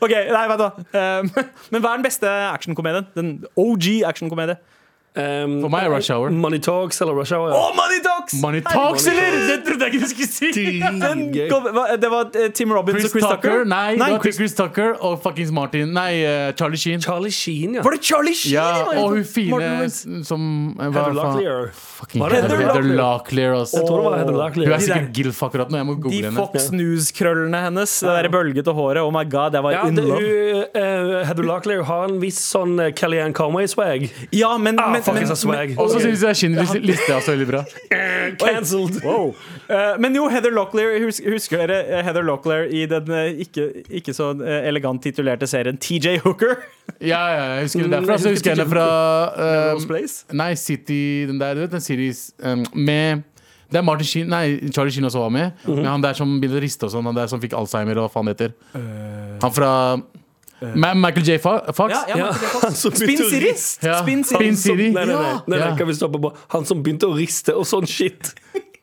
Speaker 2: Ok, nei, vent da. Eh, men hva er den beste actionkomedien? Den OG actionkomedie?
Speaker 4: Um,
Speaker 3: For meg er Rush Hour.
Speaker 4: Money Talks eller Rush Hour. Ja.
Speaker 2: Å, Money Talks!
Speaker 3: Money Talks,
Speaker 2: Herregud.
Speaker 3: eller?! Det trodde jeg ikke du skulle si!
Speaker 2: Den kom, hva- det var eh, Tim Robbins
Speaker 3: Chris,
Speaker 2: og Chris Tucker?
Speaker 3: Nei, det var
Speaker 2: Chris,
Speaker 3: Chris, Tucker og fuckings Martin Nei, eh, Charlie Sheen.
Speaker 4: Charlie Sheen, ja.
Speaker 2: var det Charlie Sheen?
Speaker 3: ja,
Speaker 2: i Money
Speaker 3: og hun
Speaker 2: Talks? Martin
Speaker 3: fine
Speaker 2: Lawrence.
Speaker 3: s- som eh, hva faen-
Speaker 4: Heather Locklear.
Speaker 3: Fucking
Speaker 4: Var det
Speaker 3: Heather
Speaker 4: Heather
Speaker 3: Locklear? altså.
Speaker 4: Jeg tror det var
Speaker 3: Hun
Speaker 4: Heather Locklear.
Speaker 3: er
Speaker 2: De der-
Speaker 3: sikkert gilf akkurat nå. Jeg må
Speaker 2: De
Speaker 3: google henne.
Speaker 2: Fox News-krøllene hennes, det der bølgete håret, oh my god, jeg var
Speaker 4: Ja,
Speaker 2: in
Speaker 4: det,
Speaker 2: love.
Speaker 4: hun, eh, Heather Locklear har en viss sånn eh, Kellyanne Conway-swag.
Speaker 2: Ja, men,
Speaker 4: Ah,
Speaker 2: men,
Speaker 4: fuck,
Speaker 2: men,
Speaker 4: it's a swag.
Speaker 3: Og så syns jeg Schindlers liste er også veldig bra.
Speaker 4: Cancelled.
Speaker 2: Wow. Eh, men jo, Heather Locklear hus- Husker dere eh, Heather Locklear i den eh, ikke, ikke så eh, elegant titulerte serien TJ Hooker?
Speaker 3: Ja, ja, jeg husker det
Speaker 4: Mm,
Speaker 3: derfra.
Speaker 4: jeg
Speaker 3: Så
Speaker 4: husker
Speaker 3: husker jeg
Speaker 4: ikke
Speaker 3: henne fra eh,
Speaker 4: Rose Place.
Speaker 3: Nei, City Den der, du vet den series eh, med det er Martin Sheen, nei, Charlie Sheen også var med.
Speaker 2: Mhm.
Speaker 3: Men han der som begynte å riste og sånn, han der som fikk Alzheimer og hva faen det heter.
Speaker 2: Eh,
Speaker 3: han fra Ma- Michael J. Fa Fox.
Speaker 4: Ja, han som
Speaker 2: Spin
Speaker 4: begynte å
Speaker 2: City!
Speaker 4: riste.
Speaker 3: Ja.
Speaker 2: Spin
Speaker 3: Spin
Speaker 2: City.
Speaker 3: City.
Speaker 4: Som, nei, nei, nei,
Speaker 3: Ja.
Speaker 4: nei, nei,
Speaker 3: Ja.
Speaker 4: kan vi stoppe på Han som begynte å riste og sånn shit.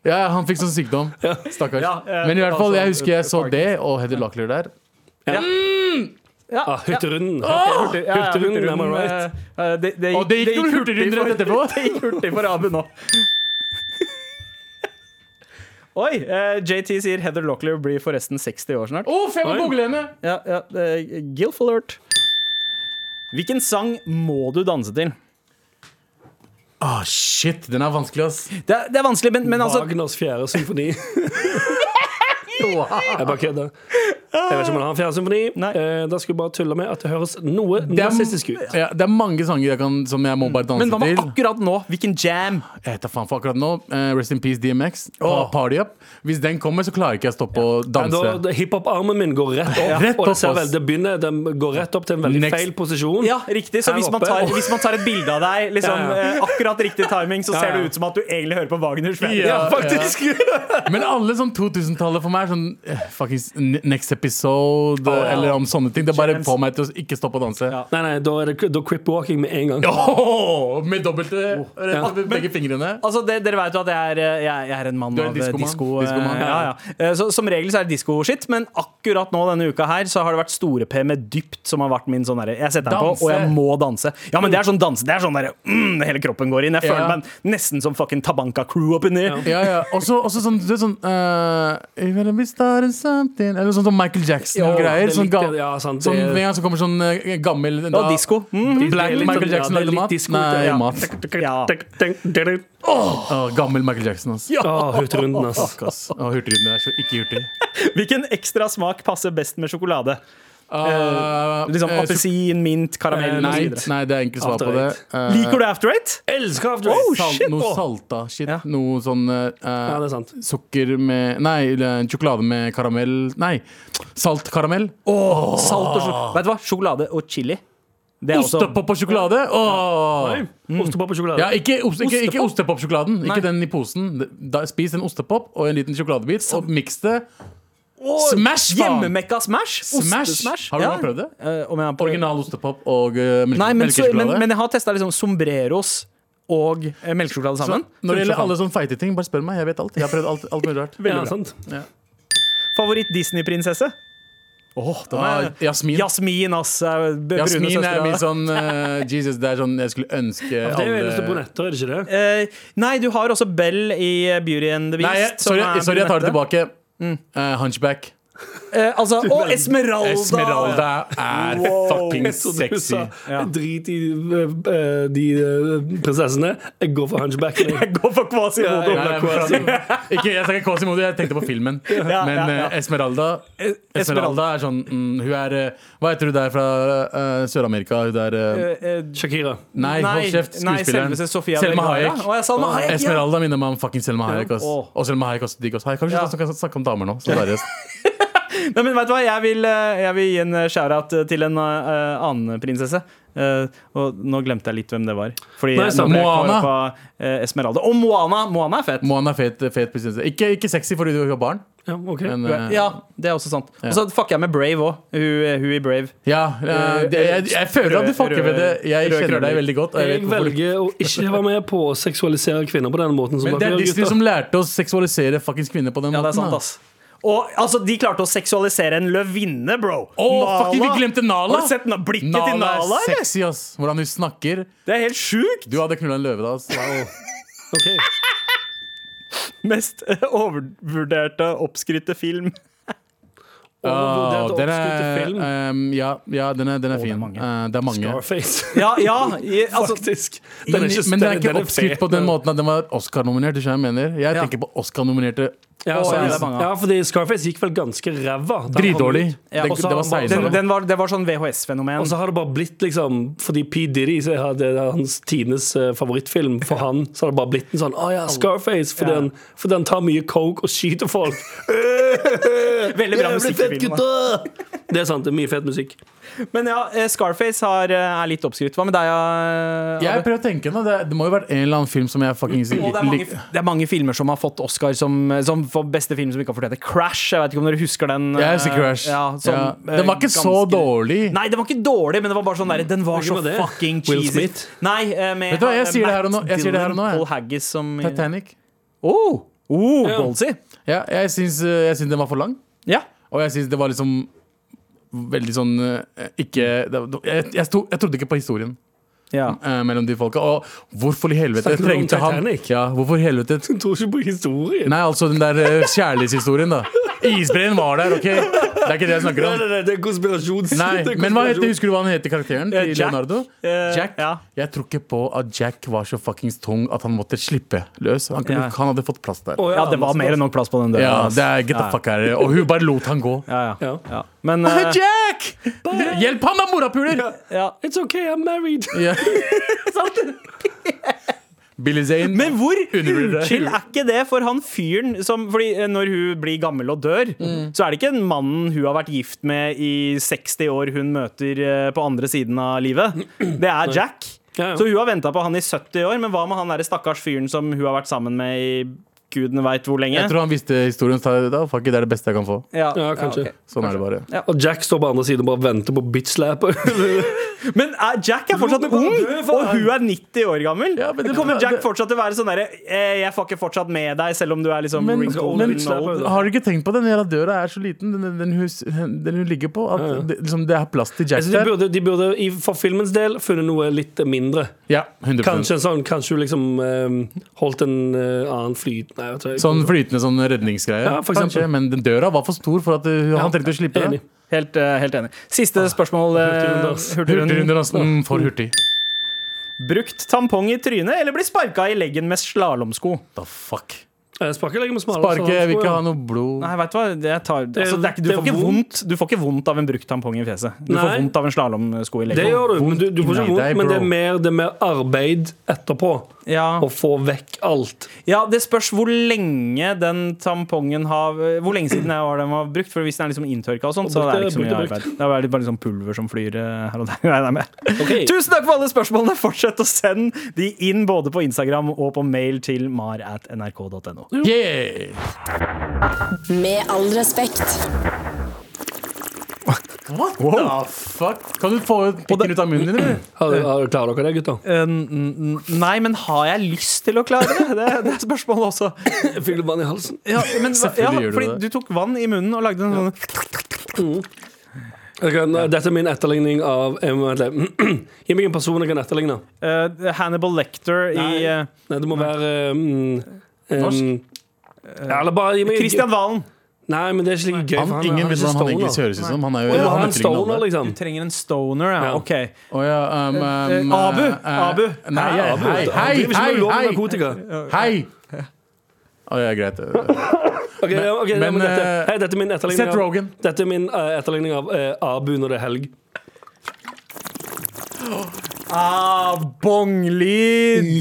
Speaker 3: Ja, han fikk sånn sykdom. Stakkars.
Speaker 2: Ja, eh,
Speaker 3: Men i hvert fall,
Speaker 2: altså,
Speaker 3: jeg husker jeg så
Speaker 2: Parkinsons.
Speaker 3: det, og Heather Locklear der.
Speaker 2: Ja,
Speaker 4: Ah,
Speaker 2: ja.
Speaker 4: Hurtigrunden.
Speaker 2: Hurtig- ja, ja,
Speaker 4: Hurtigrunden,
Speaker 2: hurtigrunden,
Speaker 4: am I right?
Speaker 2: eh, eh, det- det
Speaker 3: Og det gikk noen
Speaker 2: hurtig
Speaker 3: hurtigrunder
Speaker 2: for-
Speaker 3: rett etterpå.
Speaker 2: Det gikk hurtig for Abu nå. Oi! eh, JT sier Heather Locklear blir forresten 60 år snart.
Speaker 3: Å, for jeg må
Speaker 4: Oi.
Speaker 3: google henne!
Speaker 2: Ja, ja, eh, Gilf alert. Hvilken sang må du danse til?
Speaker 3: Ah, shit, den er vanskelig, ass.
Speaker 2: Det er, det er vanskelig, men, men altså
Speaker 4: Wagners fjerde symfoni. Jeg bare kødder. Jeg vet ikke om han har en fjerde symfoni.
Speaker 2: Nei.
Speaker 4: Eh, da skal vi bare tulle med at det høres noe
Speaker 3: Det er,
Speaker 4: nazistisk ut.
Speaker 3: ja, det er mange sanger jeg kan, som jeg må bare danse
Speaker 2: Men hva med
Speaker 3: til.
Speaker 2: akkurat nå? Hvilken jam?
Speaker 3: Jeg vet da faen for akkurat nå eh, Rest in peace, DMX. Ta
Speaker 2: Åh.
Speaker 3: Party up. Hvis den kommer, så klarer ikke jeg å stoppe å
Speaker 4: Da-
Speaker 3: danse.
Speaker 4: da- Hiphop-armen min går rett opp.
Speaker 3: Rett
Speaker 4: og
Speaker 3: opp,
Speaker 4: det, ser vel,
Speaker 3: ass.
Speaker 4: det begynner, den går rett opp til en veldig
Speaker 3: Next.
Speaker 4: feil posisjon.
Speaker 2: Ja, riktig. Så
Speaker 4: Her
Speaker 2: hvis man
Speaker 4: oppe.
Speaker 2: tar, hvis man tar et bilde av deg liksom,
Speaker 4: Ja, ja.
Speaker 2: eh, akkurat riktig timing, så
Speaker 4: Ja,
Speaker 2: ser
Speaker 4: ja.
Speaker 2: det ut som at du egentlig hører på Wagners band.
Speaker 3: Ja,
Speaker 4: Faktisk!
Speaker 3: Men alle sånn 2000-tallet for meg er sånn eh, fuckings n- Next Episode eh, eller om sånne ting. Det bare
Speaker 2: James.
Speaker 3: får meg til å ikke stoppe å danse.
Speaker 2: Ja.
Speaker 4: Nei, nei, da er det da crip walking med en gang.
Speaker 3: Åh, med dobbelte rett opp i begge fingrene.
Speaker 2: Altså, det, Dere vet jo at jeg er, eh, jeg, jeg er en mann
Speaker 3: er en
Speaker 2: av eh,
Speaker 3: diskoman.
Speaker 2: disko. eh,
Speaker 3: Diskoman,
Speaker 2: ja,
Speaker 3: ja.
Speaker 2: ja. Eh, Så, som regel så er det disko-shit, men akkurat nå denne uka her Så har det vært Store-P med Dypt som har vært min sånn derre Jeg setter den på,
Speaker 3: Danse.
Speaker 2: og jeg må danse. Ja, men det er sånn danse. Det er sånn derre mm, Hele kroppen går inn. Jeg føler
Speaker 3: Ja.
Speaker 2: meg nesten som fucking Tabanka Crew oppi ned.
Speaker 3: Ja, ja. Også, også sånn, du vet sånn eh, «You better be starting something Eller sånn som Michael Jackson og
Speaker 4: Ja,
Speaker 3: greier.
Speaker 4: det
Speaker 3: Sånn,
Speaker 4: likte
Speaker 3: ga,
Speaker 4: jeg, ja, sant,
Speaker 3: sånn,
Speaker 4: det-
Speaker 3: med en gang så kommer sånn eh, gammel da,
Speaker 2: Og disko. Mm.
Speaker 3: Black
Speaker 4: Det er litt sånn-
Speaker 3: Michael Jackson
Speaker 4: ja, det er
Speaker 3: lagde
Speaker 4: litt
Speaker 3: mat.
Speaker 4: disco,
Speaker 3: Nei, mat.
Speaker 4: ja.
Speaker 2: Ja.
Speaker 3: Åh, gammel Michael Jackson, ass.
Speaker 4: Å, Ah, Hurtigrunden, ass.
Speaker 3: Fuck, ass. Åh, hurtigruten er så ikke hurtig.
Speaker 2: Hvilken ekstra smak passer best med sjokolade?
Speaker 3: Eh,
Speaker 2: Liksom
Speaker 3: eh,
Speaker 2: Appelsin, mint,
Speaker 4: Eh,
Speaker 2: karamell
Speaker 3: Nei,
Speaker 2: osv.
Speaker 3: nei, det er enkelt svar
Speaker 4: After
Speaker 3: på det. Eh,
Speaker 2: Liker du after eight?
Speaker 4: Elsker After
Speaker 2: Oh,
Speaker 4: Eight.
Speaker 3: salt,
Speaker 2: shit,
Speaker 3: noe
Speaker 2: åh.
Speaker 3: salta shit.
Speaker 2: Ja.
Speaker 3: Noe sånn eh,
Speaker 4: Ja, det er sant.
Speaker 3: sukker med Nei, eller sjokolade med karamell Nei, saltkaramell.
Speaker 2: Salt og sjokolade. Vet du hva? Sjokolade og chili. Det er også-
Speaker 3: Ostepop og sjokolade! Åh.
Speaker 4: Ostepop og sjokolade.
Speaker 3: Ja, ikke, ost, ikke, ikke ostepopsjokoladen. Ikke
Speaker 2: Nei.
Speaker 3: den i posen. Da, spis en ostepop og en liten sjokoladebit, og miks det.
Speaker 2: Åh,
Speaker 3: Smash, faen!
Speaker 2: Hjemmemekka smash. Ostesmash.
Speaker 3: Har du
Speaker 2: Ja.
Speaker 3: noen prøvd det?
Speaker 2: Eh, om jeg har prøvd-
Speaker 3: Original ostepop og uh, melke,
Speaker 2: Nei, men, så, men,
Speaker 3: melkesjokolade.
Speaker 2: men jeg har testa liksom sombreros og eh, melkesjokolade sammen.
Speaker 3: Når det gjelder alle sånne feite ting, bare spør meg. Jeg vet alt. Jeg har prøvd alt, alt mulig rart.
Speaker 4: Ja, sant.
Speaker 2: Favoritt-Disney-prinsesse? Åh, den
Speaker 3: Ah,
Speaker 2: er
Speaker 3: Jasmin.
Speaker 2: Jasmin, ass. eh, b- brune
Speaker 3: Jasmin er
Speaker 2: søstera.
Speaker 3: min sånn eh, Jesus, det er sånn jeg skulle ønske
Speaker 4: Det er jo eneste
Speaker 3: alle
Speaker 4: brunetter, er det ikke det?
Speaker 2: Eh, nei, du har også Bell i eh, Beauty and the Beast.
Speaker 3: Nei, jeg- sorry,
Speaker 2: som er
Speaker 3: sorry, jeg tar det
Speaker 2: brunette.
Speaker 3: tilbake. Eh, hunchback.
Speaker 2: Eh, altså, og Esmeralda!
Speaker 3: Esmeralda er fucking
Speaker 4: Så du
Speaker 3: sexy.
Speaker 4: sa, Drit i eh, eh, de eh, prinsessene. Jeg går for hunchback.
Speaker 2: Jeg går for Quasimodo.
Speaker 3: Nei, nei, men fra- Ikke, jeg sa ikke Quasimodo, jeg tenkte på filmen.
Speaker 2: ja,
Speaker 3: Men
Speaker 2: ja.
Speaker 3: eh, Esmeralda Esmeralda er sånn mm, Hun er eh, Hva heter hun der fra eh, Sør-Amerika? Hun der eh,
Speaker 4: Shakira.
Speaker 3: Nei, hold kjeft,
Speaker 2: nei,
Speaker 3: skuespilleren.
Speaker 2: selveste Sofia
Speaker 3: Selma
Speaker 2: Vergara.
Speaker 3: Hayek.
Speaker 2: Å, ja, Salma Hayek, ja.
Speaker 3: Esmeralda minner meg om fucking Selma Hayek. Ass.
Speaker 2: Åh.
Speaker 3: Og Selma Hayek også digg. ass. Hei, Kanskje
Speaker 2: Ja.
Speaker 3: vi kan snakke om damer nå? Så seriøst.
Speaker 2: Nei, men vet du hva? Jeg vil, eh, jeg vil gi en eh, shout-out eh, til en eh, annen prinsesse. Eh, og nå glemte jeg litt hvem det var. Fordi
Speaker 4: Nei,
Speaker 2: jeg-
Speaker 4: sant.
Speaker 2: når jeg
Speaker 3: Moana.
Speaker 2: kommer på, eh, Esmeralda. Og Moana! Moana er fet.
Speaker 3: Moana er fet, fet prinsesse. Ikke, ikke sexy fordi du har barn.
Speaker 4: Ja, ok.
Speaker 3: Men, eh,
Speaker 2: ja, det er også sant. Og så fucker jeg med Brave òg. Hun, hun i Brave.
Speaker 3: ja, eh, det, jeg, jeg føler at du
Speaker 2: Rød-
Speaker 3: fucker med det.
Speaker 2: rød
Speaker 3: Jeg
Speaker 2: krøller. Eh,
Speaker 3: kjenner deg veldig godt. og eh, Jeg
Speaker 4: Jeg
Speaker 3: vet hvorfor du
Speaker 4: velger å ikke være med på å seksualisere kvinner på den måten. Som
Speaker 3: Men det
Speaker 4: dere
Speaker 3: er
Speaker 4: gjør,
Speaker 3: Disney
Speaker 4: gutter.
Speaker 3: som lærte oss seksualisere fuckings kvinner på den
Speaker 2: Ja, det er
Speaker 3: måten.
Speaker 2: sant,
Speaker 3: da.
Speaker 2: ass. Og altså, de klarte å seksualisere en løvinne, bro.
Speaker 3: Å, fucking, vi glemte Nala!
Speaker 2: Har du sett na blikket
Speaker 3: Nala
Speaker 2: til Nala,
Speaker 3: er
Speaker 2: eller?
Speaker 3: sexy, ass. Hvordan hun snakker.
Speaker 2: Det er helt sjukt!
Speaker 3: Du hadde knulla en løve da, ass.
Speaker 4: Ok.
Speaker 2: Mest eh, overvurderte, oppskrytte film.
Speaker 3: Åh,
Speaker 4: Overvurdert og
Speaker 3: den
Speaker 4: oppskrytte
Speaker 3: er,
Speaker 4: film.
Speaker 3: ehm, ja, ja, den er, den er
Speaker 2: det er
Speaker 3: fin.
Speaker 2: mange.
Speaker 3: Eh, det er mange.
Speaker 4: Scarface.
Speaker 2: Ja, ja. i- Altså,
Speaker 4: Faktisk.
Speaker 3: Men, men den er ikke
Speaker 4: den
Speaker 3: oppskrytt
Speaker 4: fet,
Speaker 3: på den
Speaker 4: men-
Speaker 3: måten at den var Oscar-nominert. Du skjønner hva jeg mener Jeg
Speaker 2: Ja.
Speaker 3: tenker på Oscar-nominerte
Speaker 4: Ja,
Speaker 2: Å,
Speaker 4: så,
Speaker 2: ja,
Speaker 4: ja,
Speaker 2: det er mange, ja.
Speaker 4: fordi Scarface gikk vel ganske ræva. da han kom
Speaker 3: Dritdårlig.
Speaker 4: ut.
Speaker 2: Ja,
Speaker 3: det,
Speaker 2: og så den,
Speaker 3: det var
Speaker 4: har han bare-
Speaker 3: seigere.
Speaker 2: den, var, det var sånn
Speaker 4: Og
Speaker 2: VHS-fenomen.
Speaker 4: så har det bare blitt liksom Fordi P. Diddy så har det er hans tidenes eh, favorittfilm for han, så har det bare blitt en sånn Å ja, Scarface. Fordi,
Speaker 2: Ja.
Speaker 4: han, fordi han tar mye coke og skyter folk.
Speaker 2: Veldig bra
Speaker 4: Jævlig
Speaker 2: musikk i
Speaker 4: fett,
Speaker 2: filmen. da.
Speaker 4: gutta! Det er sant. Det er mye fet musikk.
Speaker 2: Men ja, eh, Scarface har, eh, er litt oppskrytt. Hva med deg, eh,
Speaker 3: Jeg
Speaker 2: Abu?
Speaker 3: prøver å tenke nå. Det, det må jo ha vært en eller annen film som jeg fucking
Speaker 2: Og det er, mange, det er mange filmer som har fått Oscar som, eh, som for beste film som ikke har fortjent det. Crash. Jeg vet ikke om dere husker den.
Speaker 3: Jeg
Speaker 2: eh,
Speaker 3: husker Crash.
Speaker 2: Ja, som,
Speaker 3: Ja.
Speaker 2: eh,
Speaker 3: Den var ikke så
Speaker 2: ganske-
Speaker 3: dårlig.
Speaker 2: Nei, den var ikke dårlig, men det var bare sånn der, den var
Speaker 4: Hvilken
Speaker 2: så
Speaker 4: var det?
Speaker 2: fucking
Speaker 4: Will
Speaker 2: cheesy.
Speaker 4: Smith?
Speaker 2: Nei, eh, med
Speaker 3: Vet du hva, jeg
Speaker 2: han, eh,
Speaker 3: sier det her
Speaker 2: Matt
Speaker 3: og nå. Jeg sier det her og nå,
Speaker 2: Dillon,
Speaker 3: jeg.
Speaker 2: Paul Haggis som
Speaker 3: Titanic.
Speaker 2: Oh, oh ballsy.
Speaker 3: Ja, jeg syns eh, jeg syns den var for lang.
Speaker 2: Ja.
Speaker 3: Og jeg syns det var liksom veldig sånn eh, Ikke det, var- jeg, jeg, sto, jeg trodde ikke på historien
Speaker 2: ja.
Speaker 3: eh, mellom de folka. Og hvorfor i helvete
Speaker 4: Snakker du om
Speaker 3: trengte han
Speaker 4: Titanic?
Speaker 3: Ja, hvorfor i helvete
Speaker 4: Du tror ikke på historien.
Speaker 3: Nei, altså den der eh, kjærlighetshistorien, da. Isbreen var der, OK? Det er ikke det jeg snakker
Speaker 4: Nei,
Speaker 3: om.
Speaker 4: nei, nei, det er konspirasjons... det
Speaker 3: Nei,
Speaker 4: er
Speaker 3: men hva heter,
Speaker 4: konspirasjon.
Speaker 3: Husker du hva han heter karakteren
Speaker 2: Eh,
Speaker 3: til
Speaker 2: Jack.
Speaker 3: Leonardo?
Speaker 2: Eh,
Speaker 3: Jack.
Speaker 2: ja.
Speaker 3: Jeg tror ikke på at Jack var så fuckings tung at han måtte slippe løs. Han, kunne,
Speaker 2: Ja.
Speaker 3: han hadde fått plass der.
Speaker 4: Å,
Speaker 2: ja, det var mer enn nok plass på den døra.
Speaker 3: Ja,
Speaker 2: ass.
Speaker 3: det er get the
Speaker 2: Ja.
Speaker 3: fuck out of here. Og hun bare lot han gå.
Speaker 2: Ja, ja.
Speaker 4: Ja.
Speaker 2: ja. Men eh,
Speaker 3: Jack! Hjelp han da, morapuler!
Speaker 2: ja.
Speaker 4: It's okay, I'm married.
Speaker 3: Ja. Billy Zane.
Speaker 2: Men hvor
Speaker 3: Undervurdert.
Speaker 2: uchill er ikke det for han fyren som Fordi eh, når hun blir gammel og dør,
Speaker 4: Mm.
Speaker 2: så er det ikke den mannen hun har vært gift med i 60 år hun møter eh, på andre siden av livet. Det er Jack.
Speaker 4: Ja, ja.
Speaker 2: Så hun har venta på han i 70 år, men hva med han derre stakkars fyren som hun har vært sammen med i gudene veit hvor lenge?
Speaker 3: Jeg tror han visste historien. Så sa jeg, da, fuck it, det er det beste jeg kan få.
Speaker 2: Ja,
Speaker 4: Ja, kanskje.
Speaker 2: ok.
Speaker 3: Sånn er det bare.
Speaker 4: Og Jack står på andre siden og bare venter på bitch-slap.
Speaker 2: Men eh, Jack er fortsatt
Speaker 4: meg bare
Speaker 2: ung,
Speaker 4: dø, faen.
Speaker 2: og hun er 90 år gammel.
Speaker 3: Ja, men det-
Speaker 2: men kommer Jack
Speaker 3: det-
Speaker 2: fortsatt til å være sånn derre eh, Jeg fucker fortsatt med deg, selv om du er liksom
Speaker 3: Men,
Speaker 2: wrinkled
Speaker 3: men
Speaker 2: and old.
Speaker 3: har du ikke tenkt på den jævla døra er så liten, den, den, hus, den hun ligger på? At det, liksom, det er plass til
Speaker 4: Jeg
Speaker 3: Jack
Speaker 4: synes de
Speaker 3: der?
Speaker 4: burde, de burde i- for filmens del funnet noe litt mindre.
Speaker 3: Ja, 100
Speaker 4: Kanskje en sånn, kanskje du liksom eh, holdt en eh, annen flyt Nei, jeg tror ikke-
Speaker 3: Sånn flytende sånn redningsgreie.
Speaker 4: Ja, for eksempel.
Speaker 3: kanskje, men den døra var for stor for at uh, han trengte å slippe
Speaker 4: Enig.
Speaker 3: det.
Speaker 2: Helt, eh, helt enig.
Speaker 3: Ah,
Speaker 2: Siste spørsmål. eh,
Speaker 4: hurtigrunden, ass.
Speaker 2: hurtigrunden.
Speaker 3: Hurtigrunder, altså. Mm, for hurtig.
Speaker 2: Brukt tampong i trynet eller bli sparka i leggen med slalåmsko?
Speaker 3: The fuck.
Speaker 4: Eh, Sparke legger med smalere
Speaker 3: Sparke, jeg vil ikke ha
Speaker 4: slalomsko,
Speaker 3: noe blod.
Speaker 2: Nei, vet Du hva? Jeg tar, altså, det er ikke, du,
Speaker 4: det er
Speaker 2: får ikke
Speaker 4: vondt.
Speaker 2: vondt. du får ikke vondt av en brukt tampong i fjeset. Du
Speaker 4: Nei.
Speaker 2: får vondt av en slalåmsko i
Speaker 4: ja. Det
Speaker 2: leggen.
Speaker 4: gjør du, men du, du får ikke
Speaker 3: Nei,
Speaker 4: vondt,
Speaker 3: deg,
Speaker 4: men det er,
Speaker 3: bro.
Speaker 4: mer, det er mer arbeid etterpå.
Speaker 2: Ja.
Speaker 4: Å få vekk alt.
Speaker 2: ja, Det spørs hvor lenge den tampongen har Hvor lenge siden jeg var den var brukt. For Hvis den er liksom inntørka, og sånt, så
Speaker 4: brukt,
Speaker 2: er det ikke så mye
Speaker 4: brukt, brukt.
Speaker 2: arbeid. Det er bare liksom pulver som flyr eh, her og der. Jeg regner med.
Speaker 4: Ok.
Speaker 2: Tusen takk for alle spørsmålene! Fortsett å sende de inn både på Instagram og på mail til mar at nrk.no.
Speaker 3: Yeah!
Speaker 1: Med all respekt.
Speaker 3: What the fuck? Kan du få ut pikken ut av munnen din? eller?
Speaker 4: Har, har, klarer dere det, gutter?
Speaker 2: Eh, n- n- Nei, men har jeg lyst til å klare det? Det, det er spørsmålet også.
Speaker 4: Jeg fikk litt vann i halsen.
Speaker 2: Ja, men, hva- ja,
Speaker 3: Selvfølgelig gjør du
Speaker 2: fordi
Speaker 3: det.
Speaker 2: du tok vann i munnen og lagde en sånn
Speaker 4: Jeg kan, Mm. Dette er min etterligning av eh, vent litt. Gi meg en person jeg kan etterligne.
Speaker 2: eh, Hannibal Lecter i eh,
Speaker 4: Nei, det må være
Speaker 3: Norsk? Eh,
Speaker 4: Norsk? Eller bare gi meg
Speaker 2: Christian Valen.
Speaker 4: Nei, men det er ikke like gøy.
Speaker 3: Han,
Speaker 4: for
Speaker 3: ingen
Speaker 4: er
Speaker 3: vet
Speaker 4: ikke
Speaker 3: hva han
Speaker 4: stoner.
Speaker 3: egentlig høres ut som. Han er jo
Speaker 4: Du må
Speaker 3: han
Speaker 4: ha en
Speaker 3: heter ikke
Speaker 4: stoner,
Speaker 3: noe.
Speaker 4: liksom.
Speaker 2: Du trenger en stoner, ja.
Speaker 4: Ja.
Speaker 2: OK.
Speaker 3: Å ja, um, um,
Speaker 2: Eh, Abu,
Speaker 3: eh, eh,
Speaker 2: Abu.
Speaker 3: Nei,
Speaker 4: Ja,
Speaker 3: jeg-
Speaker 4: Abu,
Speaker 3: hei,
Speaker 4: han
Speaker 3: hei,
Speaker 4: driver ikke med ulovlig
Speaker 3: hei, hei!
Speaker 4: narkotika.
Speaker 3: Hei! Å ja, greit.
Speaker 4: Ok, ja, ok, ja,
Speaker 3: men,
Speaker 4: men dette,
Speaker 3: eh,
Speaker 4: hei, dette er min etterligning
Speaker 3: Seth
Speaker 4: av-
Speaker 3: Rogen.
Speaker 4: Dette er min eh, etterligning av eh, Abu når det er helg.
Speaker 2: Ah, bonglyd!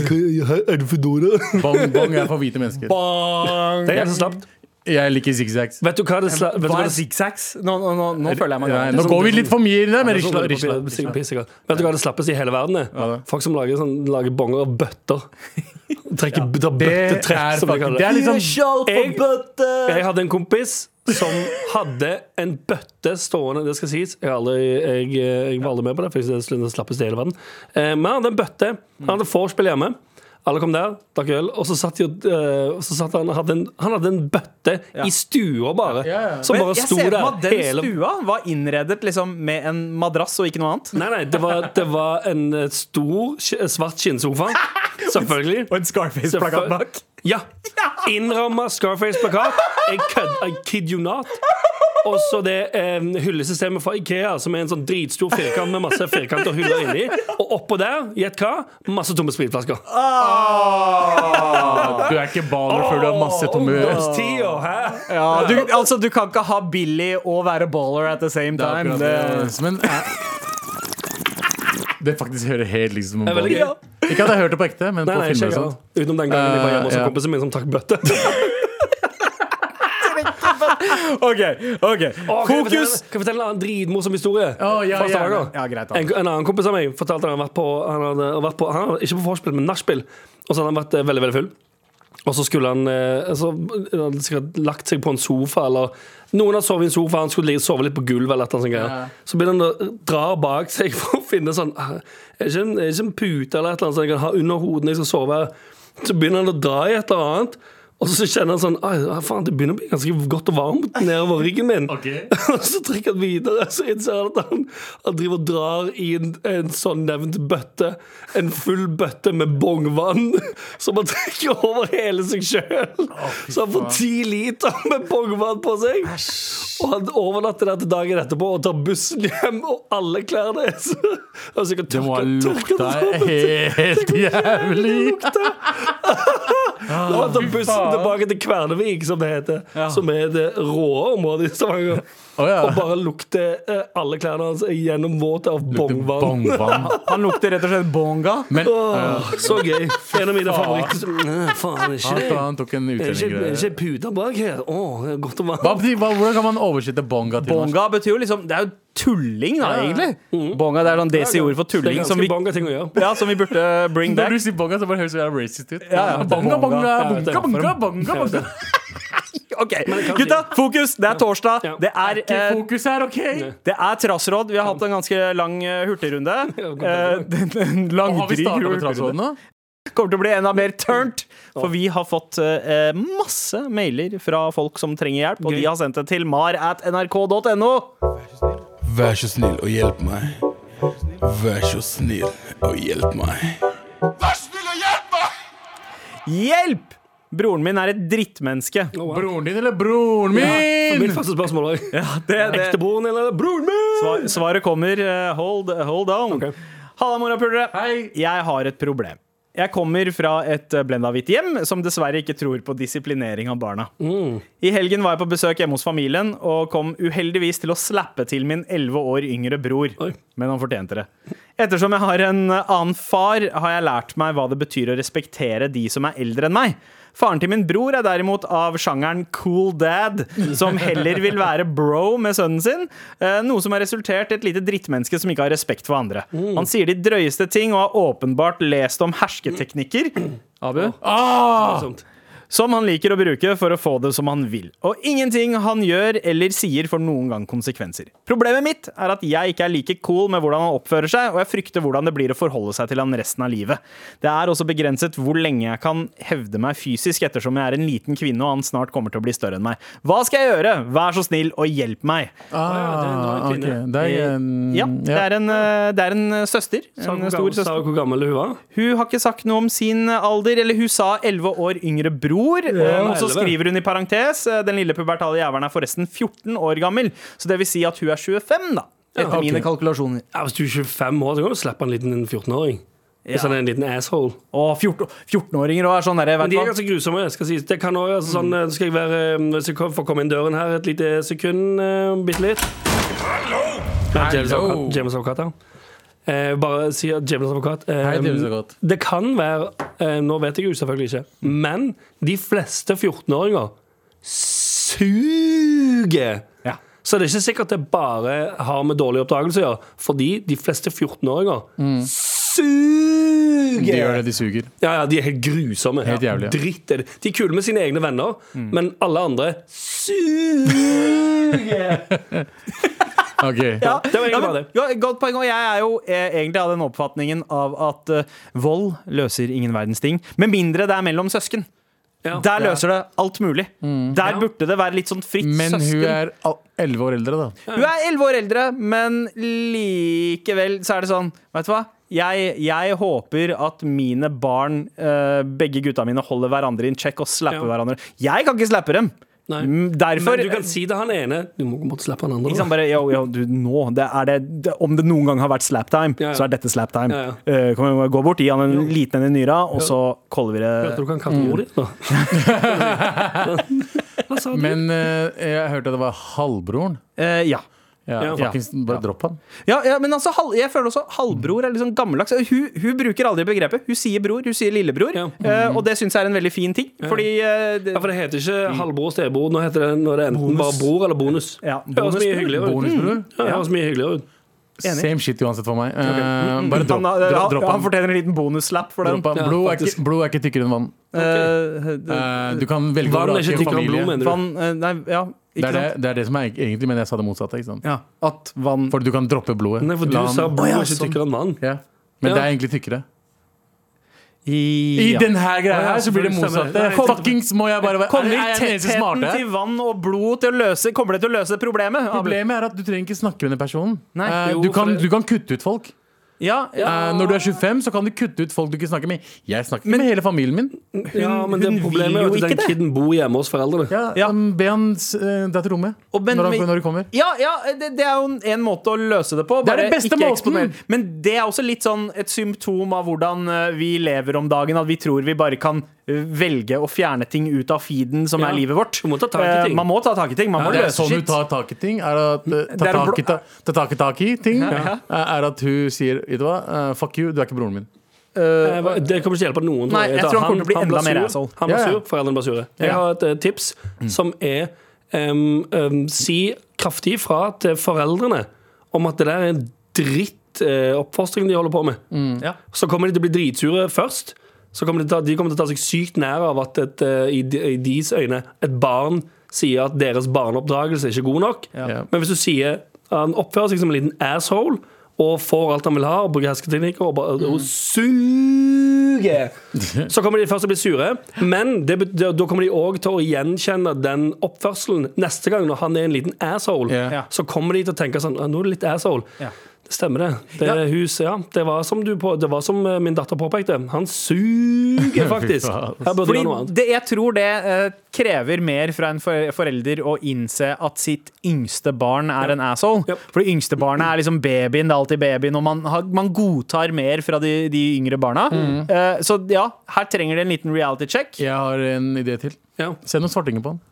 Speaker 4: Er det Foodora?
Speaker 3: Bong, bong er for hvite mennesker.
Speaker 4: Det er helt slapt.
Speaker 3: Jeg liker zigzags.
Speaker 4: Vet du hva det sla... Vet du
Speaker 2: Hva
Speaker 4: hva
Speaker 2: er
Speaker 4: det
Speaker 2: zigzags? Nå, nå, nå, nå føler jeg meg
Speaker 3: Nei,
Speaker 2: gammel.
Speaker 3: Nå går vi litt for mye inn der, men
Speaker 4: det er sånn
Speaker 3: Risla,
Speaker 4: røde
Speaker 3: Risla,
Speaker 4: papir-
Speaker 3: Risla.
Speaker 4: sikkert pissegal. Vet du hva det slappes i hele verden? er?
Speaker 3: Ja.
Speaker 4: Folk som lager, sånn, lager bonger av bøtter. Trekker tar
Speaker 3: Det er,
Speaker 4: bøttetrekk, som de
Speaker 3: faktisk- det
Speaker 4: kaller det.
Speaker 3: er liksom
Speaker 4: Jeg- Jeg hadde en kompis som hadde en bøtte stående Det skal sies. Jeg, har aldri, jeg, jeg var aldri med på det, for jeg synes det er den slappeste i hele verden. Eh, Men han hadde en bøtte. Han hadde vorspiel hjemme. Alle kom der, drakk øl, og så satt, de, og, eh, og så satt han hadde en, Han hadde en bøtte
Speaker 2: Ja.
Speaker 4: i stua, bare.
Speaker 3: Ja, ja.
Speaker 4: Som
Speaker 2: Men
Speaker 4: bare
Speaker 2: jeg
Speaker 4: sto
Speaker 2: ser for
Speaker 4: der
Speaker 2: meg at den
Speaker 4: hele
Speaker 2: stua var innredet liksom, med en madrass og ikke noe annet.
Speaker 4: Nei, nei, det var, det var en eh, stor, sk- svart skinnsofa. Selvfølgelig.
Speaker 2: Og en Scarface-plakat
Speaker 4: Selvføl-
Speaker 2: bak.
Speaker 4: Ja. Innramma Scarface-plakat. Jeg kødd, I kid you not. Og så det eh, hyllesystemet fra Ikea, som er en sånn dritstor firkant med masse firkanter og huller inni. Og oppå der, gjett hva? Masse tomme spritflasker.
Speaker 3: Du er ikke baller før du har masse tomme
Speaker 4: Ungdomstida, hæ?
Speaker 2: Ja, du, altså, du kan ikke ha Billy og være baller at the same
Speaker 3: Det er
Speaker 2: time. Det,
Speaker 3: akkurat
Speaker 2: Sånn
Speaker 3: det. Men eh, det faktisk hører helt liksom
Speaker 4: Det er veldig gøy.
Speaker 3: Ikke at jeg hørte det på ekte, men på
Speaker 4: Nei, nei, ikke
Speaker 3: filmer
Speaker 4: jeg
Speaker 3: og sånt.
Speaker 4: heller. Utenom den gangen jeg var hjemme hos
Speaker 3: Eh, ja.
Speaker 4: kompisen min som trakk bøtte.
Speaker 2: OK. ok
Speaker 4: Å, kan jeg
Speaker 2: Fokus!
Speaker 4: fortelle- Kan jeg fortelle en annen dritmorsom historie?
Speaker 3: Å, ja,
Speaker 4: fra
Speaker 3: ja,
Speaker 4: Stavanger?
Speaker 3: ja, greit, da.
Speaker 4: en, en annen kompis av meg fortalte at han hadde vært på, han hadde vært på han hadde, Ikke på vorspiel, men nachspiel. Og så hadde han vært eh, veldig, veldig full. Og så skulle han eh, så han hadde sikkert lagt seg på en sofa, eller noen hadde sovet i en sofa, han skulle ligge, sove litt på gulvet. Eller et eller annet sånt greier. Så begynner han å dra bak seg for å finne sånn ah, Er det ikke en, er det ikke en pute eller et eller annet som jeg kan ha under hodet når jeg skal sove? Så begynner han å dra i et eller annet. Og så kjenner han sånn «Ai, faen, Det begynner å bli ganske godt og varmt nedover ryggen min. Og så trekker han videre, så innser han at han, han driver og drar i en, en sånn nevnt bøtte. En full bøtte med bongvann som han trekker over hele seg sjøl. Så han får ti liter med bongvann på seg. Og han overnatter der til dagen etterpå og tar bussen hjem, og alle klærne er så og så kan
Speaker 3: Det må ha
Speaker 4: tørke- tørke
Speaker 3: lukta
Speaker 4: det sammen.
Speaker 3: helt jævlig.
Speaker 4: La han tar bussen tilbake til Kvernevik, som det heter. Som er det rå området i Stavanger.
Speaker 3: Å, ja.
Speaker 4: Og bare lukter eh, alle klærne hans er gjennomvåte av bongvann.
Speaker 3: Bongvann.
Speaker 2: Han lukter rett og slett bonga.
Speaker 3: Men
Speaker 4: Åh, Så gøy. En av mine favoritter. Nei, Faen, er
Speaker 3: han,
Speaker 4: ikke
Speaker 3: han tok en
Speaker 4: er ikke, er
Speaker 3: utlendinggreie.
Speaker 4: ikke puta bak her? Å, det er godt å
Speaker 3: Hva
Speaker 4: være
Speaker 3: betyr- hva- Hvordan kan man oversette bonga til norsk?
Speaker 2: Bonga betyr jo liksom Det er jo tulling, da, egentlig. Bonga det er sånn desi ord for
Speaker 4: Mhm. Det er
Speaker 2: tulling som
Speaker 4: ganske
Speaker 2: vi,
Speaker 4: bonga ting å gjøre.
Speaker 2: ja, som vi burde bring
Speaker 3: Når
Speaker 2: back.
Speaker 3: du sier bonga, så bare høres det jævla racist ut.
Speaker 2: Ja, ja.
Speaker 3: Bonga, bonga,
Speaker 4: Ja, det er
Speaker 3: bonga, bonga, bonga, bonga.
Speaker 2: OK,
Speaker 4: kan
Speaker 2: gutta, fokus! Det er torsdag.
Speaker 4: Ja.
Speaker 2: Det er eh,
Speaker 3: Fokus her, OK?
Speaker 2: det er trassråd. Vi har hatt en ganske lang eh, hurtigrunde.
Speaker 4: godt.
Speaker 2: Eh, den- en lang,
Speaker 3: Har vi
Speaker 2: dryg
Speaker 3: startet med
Speaker 2: hurtigrunde.
Speaker 3: transrådet nå?
Speaker 2: kommer til å bli enda mer turnt. For vi har fått eh, masse mailer fra folk som trenger hjelp, og de har sendt det til mar at nrk.no.
Speaker 6: Vær så snill og hjelp meg. Vær så snill og hjelp meg.
Speaker 2: Hjelp! Broren min er et drittmenneske.
Speaker 3: Broren din eller broren min?
Speaker 4: Mitt første spørsmål var
Speaker 2: Ja, det, det.
Speaker 4: Ektebroren eller broren min?
Speaker 2: Svar, svaret kommer. eh, hold, hold on. Halla, morapulere.
Speaker 3: Hei.
Speaker 2: Jeg har et problem. Jeg kommer fra et eh, blenda hvitt hjem som dessverre ikke tror på disiplinering av barna. I helgen var jeg på besøk hjemme hos familien og kom uheldigvis til å slappe til min 11 år yngre bror.
Speaker 4: Oi.
Speaker 2: Men han fortjente det. Ettersom jeg har en eh, annen far, har jeg lært meg hva det betyr å respektere de som er eldre enn meg. Faren til min bror er derimot av sjangeren cool dad, som heller vil være bro med sønnen sin, eh, noe som har resultert i et lite drittmenneske som ikke har respekt for andre. Han sier de drøyeste ting og har åpenbart lest om hersketeknikker. Abu?
Speaker 3: Ah,
Speaker 2: som han liker å bruke for å få det som han vil. Og ingenting han gjør eller sier får noen gang konsekvenser. Problemet mitt er at jeg ikke er like cool med hvordan han oppfører seg, og jeg frykter hvordan det blir å forholde seg til han resten av livet. Det er også begrenset hvor lenge jeg kan hevde meg fysisk, ettersom jeg er en liten kvinne og han snart kommer til å bli større enn meg. Hva skal jeg gjøre? Vær så snill og hjelp meg.
Speaker 3: ah, ok. Det er en
Speaker 2: Ja, det er en, eh, det er en eh, søster. En stor søster.
Speaker 4: Sa du hvor gammel hun var?
Speaker 2: Hun har ikke sagt noe om sin alder, eller hun sa 11 år yngre bror. eh, og så
Speaker 4: 11.
Speaker 2: skriver hun i parentes eh, den lille pubertale jævelen er forresten 14 år gammel. Så det vil si at hun er 25, da. Etter
Speaker 4: ok.
Speaker 2: mine kalkulasjoner.
Speaker 4: Ja, hvis du er 25 år, så kan du slippe en liten 14-åring. Hvis
Speaker 2: Ja.
Speaker 4: han er en liten asshole.
Speaker 2: Og 14 14-åringer og er sånn derre,
Speaker 4: Men
Speaker 2: vet
Speaker 4: de
Speaker 2: du
Speaker 4: er
Speaker 2: hva.
Speaker 4: ganske grusomme. skal sies. Det kan også, altså, sånn, eh, skal jeg være, eh, Hvis jeg kom- får komme inn døren her et lite sekund, eh, bitte litt Ja, James
Speaker 3: Hallo!
Speaker 4: Advokat- James Advokat her. Eh, bare si at James Advokat eh,
Speaker 3: Hei, James Advokat.
Speaker 4: Det kan være eh, Nå vet jeg jo selvfølgelig ikke, men de fleste 14-åringer suger!
Speaker 2: Ja.
Speaker 4: Så det er ikke sikkert det bare har med dårlig oppdragelse å gjøre, fordi de fleste 14-åringer suger!
Speaker 3: Mm. De gjør det, de suger.
Speaker 4: Ja, ja, de er helt grusomme.
Speaker 3: Helt jævlig, ja.
Speaker 4: Dritt er det. De er kule med sine egne
Speaker 2: Mm.
Speaker 4: venner, men alle andre suger.
Speaker 3: Ok.
Speaker 2: Ja,
Speaker 4: det var egentlig
Speaker 2: ja,
Speaker 4: bare
Speaker 2: men,
Speaker 4: det.
Speaker 2: ja, godt poeng. Og jeg er jo eh, egentlig av den oppfatningen av at eh, vold løser ingen verdens ting. Med mindre det er mellom søsken.
Speaker 4: Ja. Mm.
Speaker 2: Der løser det alt mulig. Der burde det være litt sånn fritt
Speaker 3: Men
Speaker 2: søsken.
Speaker 3: hun er elleve år eldre, da.
Speaker 2: Hun er elleve år eldre, men likevel så er det sånn Vet du hva? Jeg, jeg håper at mine barn, eh, begge gutta mine, holder hverandre in check og slapper
Speaker 4: Ja.
Speaker 2: hverandre. Jeg kan ikke slappe dem!
Speaker 4: Nei.
Speaker 2: Mm, Derfor
Speaker 4: Men du kan si det han ene. Du må måtte slippe han andre.
Speaker 2: Ikke sant,
Speaker 4: da.
Speaker 2: bare, yo, yo, du, nå, det er det, det, Om det noen gang har vært slap time,
Speaker 4: Ja, ja.
Speaker 2: så er dette slap time.
Speaker 4: Ja,
Speaker 2: Eh, kom igjen, gå bort, gi han en liten en i nyra, og så kaller vi
Speaker 4: Jeg
Speaker 2: det
Speaker 4: tror du kan kalle mor di. da. Hva sa du?
Speaker 3: Men eh, jeg hørte det var halvbroren.
Speaker 2: Eh, ja.
Speaker 3: Ja,
Speaker 4: Ja.
Speaker 3: fuckings, Bare dropp han.
Speaker 2: Ja, ja, men altså, halv, jeg føler også halvbror er litt sånn gammeldags. Hun, hun bruker aldri begrepet. Hun sier bror, hun sier lillebror.
Speaker 4: Ja.
Speaker 2: eh, og det syns jeg er en veldig fin ting. Fordi eh, det,
Speaker 4: Ja, for det heter ikke halvbror og stebror. Nå heter det, nå er det enten bare bror eller bonus.
Speaker 2: Ja,
Speaker 4: høres mye
Speaker 2: bonusbror.
Speaker 4: hyggeligere ut.
Speaker 3: Bonusbror.
Speaker 4: Ja, det høres mye hyggeligere ut.
Speaker 2: Enig.
Speaker 3: Same shit uansett for meg.
Speaker 4: Mm,
Speaker 3: Eh, bare dropp,
Speaker 2: han, han,
Speaker 3: dro-
Speaker 2: han,
Speaker 3: dropp
Speaker 2: han
Speaker 3: han.
Speaker 2: fortjener en liten bonuslapp for den.
Speaker 3: Dropp han.
Speaker 4: Ja,
Speaker 3: Blod, er
Speaker 4: faktisk.
Speaker 3: ikke, blod er ikke tykkere enn vann.
Speaker 2: Eh, det-
Speaker 3: Eh, du kan velge
Speaker 4: Vann er
Speaker 3: vrake en
Speaker 4: ikke tykkere enn blod,
Speaker 3: familie.
Speaker 4: mener du?
Speaker 2: Vann eh, Nei, ja,
Speaker 3: Det
Speaker 2: ikke
Speaker 3: er det,
Speaker 2: sant?
Speaker 3: det er det som er egentlig, men jeg sa det motsatte. Ikke sant?
Speaker 2: Ja, at vann
Speaker 3: For du kan droppe blodet.
Speaker 4: Mm. Nei, for du
Speaker 3: La han-
Speaker 4: sa blod
Speaker 2: Å, ja,
Speaker 4: er ikke
Speaker 2: sånn.
Speaker 4: tykkere enn vann.
Speaker 3: ja. Men
Speaker 4: Ja.
Speaker 3: det er egentlig tykkere. I
Speaker 2: I
Speaker 3: denne greia
Speaker 4: Å, ja,
Speaker 3: her så blir det
Speaker 4: selvfølgelig
Speaker 3: motsatte.
Speaker 4: stemmer det. Nei,
Speaker 3: Fuckings må jeg bare være
Speaker 2: Kommer
Speaker 3: Er jeg den eneste
Speaker 2: tettheten
Speaker 3: smarte her?
Speaker 2: til vann og blod til å løse Kommer det til å løse problemet? Abel?
Speaker 3: Problemet er at du trenger ikke snakke med den personen.
Speaker 2: Nei,
Speaker 3: Eh,
Speaker 4: jo,
Speaker 3: du, kan,
Speaker 4: for det-
Speaker 3: du kan kutte ut folk.
Speaker 2: Ja, ja.
Speaker 3: Eh, når du er 25, så kan du kutte ut folk du ikke snakker med. Jeg snakker ikke med hele familien min.
Speaker 4: Ja, men det
Speaker 2: hun vil
Speaker 4: problemet er jo
Speaker 2: jo
Speaker 4: at
Speaker 2: ikke
Speaker 4: den
Speaker 2: det.
Speaker 4: kiden bor hjemme hos foreldrene.
Speaker 3: Ja,
Speaker 2: Ja.
Speaker 3: um, Be han eh, dra til rommet
Speaker 2: Og men-
Speaker 3: når, han,
Speaker 2: men-
Speaker 3: når du kommer.
Speaker 2: Ja, ja det, det er jo en- en måte å løse det på.
Speaker 3: Det er
Speaker 2: bare
Speaker 3: den beste
Speaker 2: ikke
Speaker 3: måten.
Speaker 2: eksponere. Men det er også litt sånn et symptom av hvordan eh, vi lever om dagen. At vi tror vi bare kan eh, velge å fjerne ting ut av feeden som
Speaker 4: Ja.
Speaker 2: er livet vårt.
Speaker 4: Du må ta tak i
Speaker 2: Eh,
Speaker 4: ting.
Speaker 2: Man må ta tak i ting. Man må
Speaker 3: Det er
Speaker 2: løse
Speaker 3: sånn du
Speaker 2: shit.
Speaker 3: tar tak i ting. Er at, eh,
Speaker 2: Det
Speaker 3: ta,
Speaker 2: er en
Speaker 3: tak i,
Speaker 2: blå-
Speaker 3: ta, ta tak i tak i ting.
Speaker 2: ja.
Speaker 3: eh, Er at hun sier Vet du hva, eh, fuck you, du er ikke broren min.
Speaker 4: Eh, hva- Det kommer ikke til å hjelpe noen.
Speaker 2: Nei, jeg tror han kommer til å bli
Speaker 4: blir
Speaker 2: enda mer
Speaker 4: sur.
Speaker 2: asshole.
Speaker 4: Han blir
Speaker 3: Ja, ja.
Speaker 4: sur, foreldrene blir sure. Jeg
Speaker 3: Ja.
Speaker 4: har et eh, tips som er em, em, si kraftig fra til foreldrene om at det der er en dritt eh, oppfostring de holder på med.
Speaker 2: Mm. Ja.
Speaker 4: Så kommer de til å bli dritsure først. Så kommer de, til, å ta- de kommer til å ta seg sykt nær av at et, eh, i, de- i deres øyne et barn sier at deres barneoppdragelse er ikke god nok.
Speaker 3: Ja.
Speaker 4: Men hvis du sier han oppfører seg som en liten asshole og får alt han vil ha, og bruker hersketeknikker og, bare- og suger, så kommer de først til å bli sure. Men det, bet- da kommer de òg til å gjenkjenne den oppførselen neste gang når han er en liten asshole.
Speaker 3: Ja.
Speaker 2: Ja.
Speaker 4: Så kommer de til å tenke sånn «Ah, Nå er du litt asshole.
Speaker 2: Ja.
Speaker 4: Det stemmer, det. Det,
Speaker 2: Ja.
Speaker 4: Hus, ja. det, var som du på, det var som eh, min datter påpekte. Han suger, faktisk.
Speaker 3: faen.
Speaker 4: Her burde du gjøre noe
Speaker 2: Fordi
Speaker 4: annet.
Speaker 2: det, jeg tror det eh, krever mer fra en for forelder å innse at sitt yngste barn er en asshole.
Speaker 4: Yep.
Speaker 2: For det yngste barnet er liksom babyen, det er alltid babyen, og man, har, man godtar mer fra de, de yngre barna.
Speaker 4: Mm.
Speaker 2: Eh, så ja, her trenger det en liten reality check.
Speaker 3: Jeg har en idé til.
Speaker 4: Ja.
Speaker 3: Send noen svartinger på han.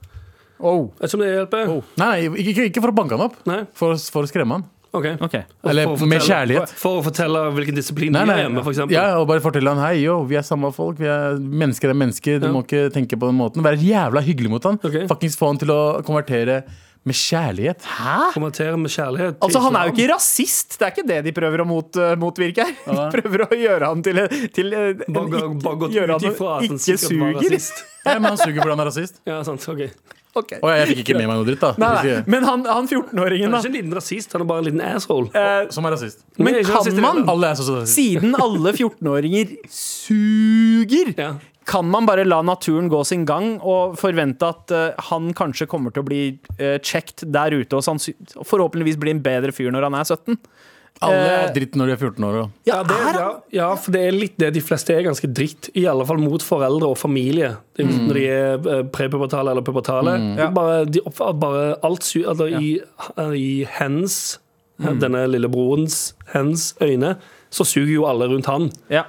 Speaker 4: Jeg vet ikke om det hjelper.
Speaker 3: Nei, nei, ikke, ikke for å banke han opp.
Speaker 4: Nei?
Speaker 3: For, å- for å skremme han.
Speaker 4: OK.
Speaker 2: Ok.
Speaker 3: Eller
Speaker 4: For å
Speaker 3: med
Speaker 4: fortelle-
Speaker 3: kjærlighet.
Speaker 4: For å fortelle hvilken disiplin de
Speaker 3: Nei,
Speaker 4: er
Speaker 3: nei,
Speaker 4: hjemme, f.eks.
Speaker 3: ja, og bare fortelle han Hei, jo, vi er samme folk, vi er mennesker er mennesker. Du
Speaker 4: Ja.
Speaker 3: må ikke tenke på den måten. Være jævla hyggelig mot han.
Speaker 4: Ok.
Speaker 3: Faktisk få han til å konvertere med kjærlighet. Hæ?
Speaker 4: Kommentere med kjærlighet. til
Speaker 2: Altså, Han er jo
Speaker 4: islam.
Speaker 2: ikke rasist, det er ikke det de prøver å mot, eh, motvirke her. De prøver å gjøre han til, til eh, en
Speaker 4: Bare-
Speaker 2: ikke-
Speaker 4: bare gått
Speaker 2: gjøre
Speaker 4: ut
Speaker 2: han
Speaker 4: ifra at han
Speaker 2: ikke
Speaker 4: sikkert var
Speaker 2: suger.
Speaker 4: rasist.
Speaker 3: Nei, men han suger fordi han er rasist.
Speaker 4: Ja, sant, ok
Speaker 2: Ok.
Speaker 3: Og jeg fikk ikke med meg noe dritt, da.
Speaker 2: Nei,
Speaker 3: Hvis
Speaker 2: nei.
Speaker 3: jeg-
Speaker 2: Men han, han 14-åringen,
Speaker 4: Han
Speaker 2: da.
Speaker 4: er ikke en liten rasist, han er bare en liten asshole.
Speaker 2: eh,
Speaker 3: Som er rasist.
Speaker 2: Men
Speaker 4: Jeg er ikke
Speaker 2: kan
Speaker 4: rasist i det
Speaker 2: man-
Speaker 4: hele tatt.
Speaker 3: Alle er så, så rasist.
Speaker 2: Siden alle 14-åringer suger,
Speaker 4: Ja.
Speaker 2: kan man bare la naturen gå sin gang og forvente at eh, han kanskje kommer til å bli uh, checked der ute, og sannsy- forhåpentligvis bli en bedre fyr når han er 17? eh,
Speaker 3: Alle er dritt når de er 14 år. og-
Speaker 4: Ja, det, ja, ja, for det er litt det. De fleste er ganske dritt. I alle fall mot foreldre og familie. Det er Når de er eh, prepubertale eller pubertale.
Speaker 2: Ja.
Speaker 4: Bare, de oppfører bare alt sy... Altså, i, eh, I hens, denne lillebrorens, hens øyne, så suger jo alle rundt han.
Speaker 2: Ja.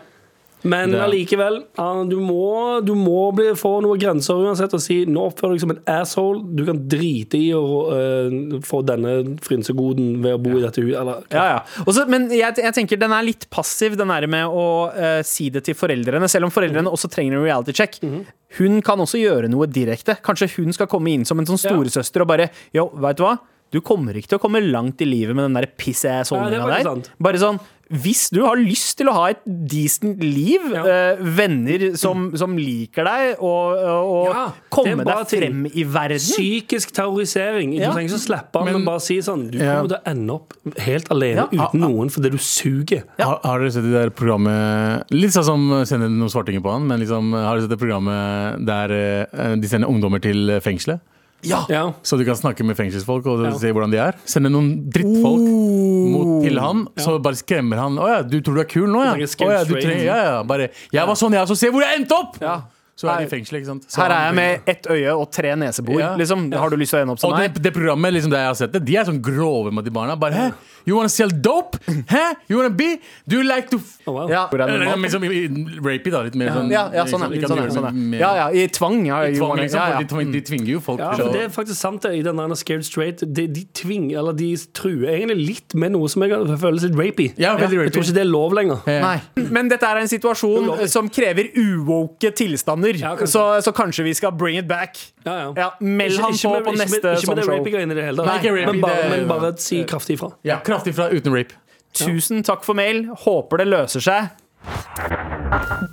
Speaker 4: Men
Speaker 3: Det er-
Speaker 4: allikevel, ja, du må, du må bli, få noen grenser uansett og si nå oppfører du deg som en asshole. Du kan drite i å eh, få denne frynsegoden ved å bo i dette huset. Eller
Speaker 2: Ja, ja. Og så- men jeg, jeg tenker den er litt passiv, den der med å eh, si det til foreldrene. Selv om
Speaker 4: Mhm.
Speaker 2: foreldrene også trenger en reality check. Hun kan også gjøre noe direkte. Kanskje hun skal komme inn som en sånn storesøster og bare Yo, veit du hva? Du kommer ikke til å komme langt i livet med den der piss ass
Speaker 4: Nei, det er
Speaker 2: holdninga der.
Speaker 4: faktisk sant.
Speaker 2: Bare sånn hvis du har lyst til å ha et decent liv,
Speaker 4: Ja.
Speaker 2: eh, venner som, som liker deg, og, og
Speaker 4: Ja, det er en
Speaker 2: komme
Speaker 4: bra
Speaker 2: deg
Speaker 4: ting.
Speaker 2: frem i verden
Speaker 4: Psykisk terrorisering. Du
Speaker 2: Ja.
Speaker 4: trenger ikke å slippe han, men bare si sånn Du
Speaker 3: Ja.
Speaker 4: kommer til å ende opp helt alene
Speaker 2: Ja.
Speaker 4: uten noen fordi du suger.
Speaker 3: Har, har dere sett det der programmet Litt sånn som sender noen svartinger på han, men liksom, har dere sett det programmet der eh, de sender ungdommer til eh, fengselet?
Speaker 4: Ja.
Speaker 3: Så du kan snakke med fengselsfolk og
Speaker 4: Ja.
Speaker 3: se hvordan de er. Sende noen drittfolk
Speaker 2: Oh.
Speaker 3: mot, til han, så bare skremmer han. 'Å ja, du tror du er kul nå,
Speaker 2: Sånn
Speaker 3: ja?'
Speaker 4: Du trenger
Speaker 3: Å, ja, du
Speaker 4: skremstraining.
Speaker 3: trenger, ja, ja. Bare 'Jeg var sånn, jeg også. Se hvor jeg endte opp!'
Speaker 4: Ja.
Speaker 3: Så er de i fengselet, ikke sant. Så
Speaker 2: Her er jeg
Speaker 3: han-
Speaker 2: med ett øye og tre nesebor.
Speaker 3: Ja.
Speaker 2: Liksom. Har du lyst til å ende opp som
Speaker 3: Og
Speaker 2: meg?
Speaker 3: det, det programmet liksom, der jeg har sett det, de er sånn grove med de barna. Bare, Hæ? You wanna sell dope? Hæ? You wanna be? Do you like to f
Speaker 4: Oh, wow.
Speaker 2: Ja. Hvor er
Speaker 3: Eller,
Speaker 2: normalt?
Speaker 3: liksom, i- i- Rapey, da. Litt mer sånn.
Speaker 2: Ja, ja,
Speaker 4: Liksom,
Speaker 2: sånn er det. Sånn er,
Speaker 3: ikke at de gjør
Speaker 2: det,
Speaker 3: det
Speaker 2: sånn er. det.
Speaker 3: med-
Speaker 2: Ja, ja, I tvang, ja.
Speaker 3: I
Speaker 2: jo,
Speaker 3: Tvang, liksom,
Speaker 2: ja,
Speaker 3: for
Speaker 2: ja.
Speaker 3: De, tvang- de tvinger jo folk
Speaker 4: Ja,
Speaker 3: til å
Speaker 4: for det er faktisk sant det, i den der Scared Straight. De, de tvinger, eller de truer egentlig litt med noe som jeg føles litt rapey.
Speaker 3: Ja, veldig
Speaker 4: Jeg tror
Speaker 3: rapey.
Speaker 4: ikke det er lov lenger.
Speaker 3: Eh,
Speaker 2: Nei. Men dette er en situasjon
Speaker 4: Ulovlig.
Speaker 2: som krever uwoke tilstander,
Speaker 4: Ja, kanskje.
Speaker 2: så, så kanskje vi skal bring it back.
Speaker 4: Ja, ja.
Speaker 2: Ja, Meld
Speaker 4: Ikke-
Speaker 2: han
Speaker 4: ikke
Speaker 2: på
Speaker 4: med-
Speaker 2: på
Speaker 4: ikke med-
Speaker 2: neste
Speaker 4: Ikke med
Speaker 2: sånn
Speaker 4: det
Speaker 2: show.
Speaker 4: rapey-greiene i det
Speaker 3: Nei,
Speaker 4: hele tatt.
Speaker 3: ikke rapey,
Speaker 4: Men bare,
Speaker 3: det-
Speaker 4: men bare si kraftig ifra.
Speaker 3: Ja, kraftig fra uten rape.
Speaker 2: Tusen takk for mail. Håper det løser seg.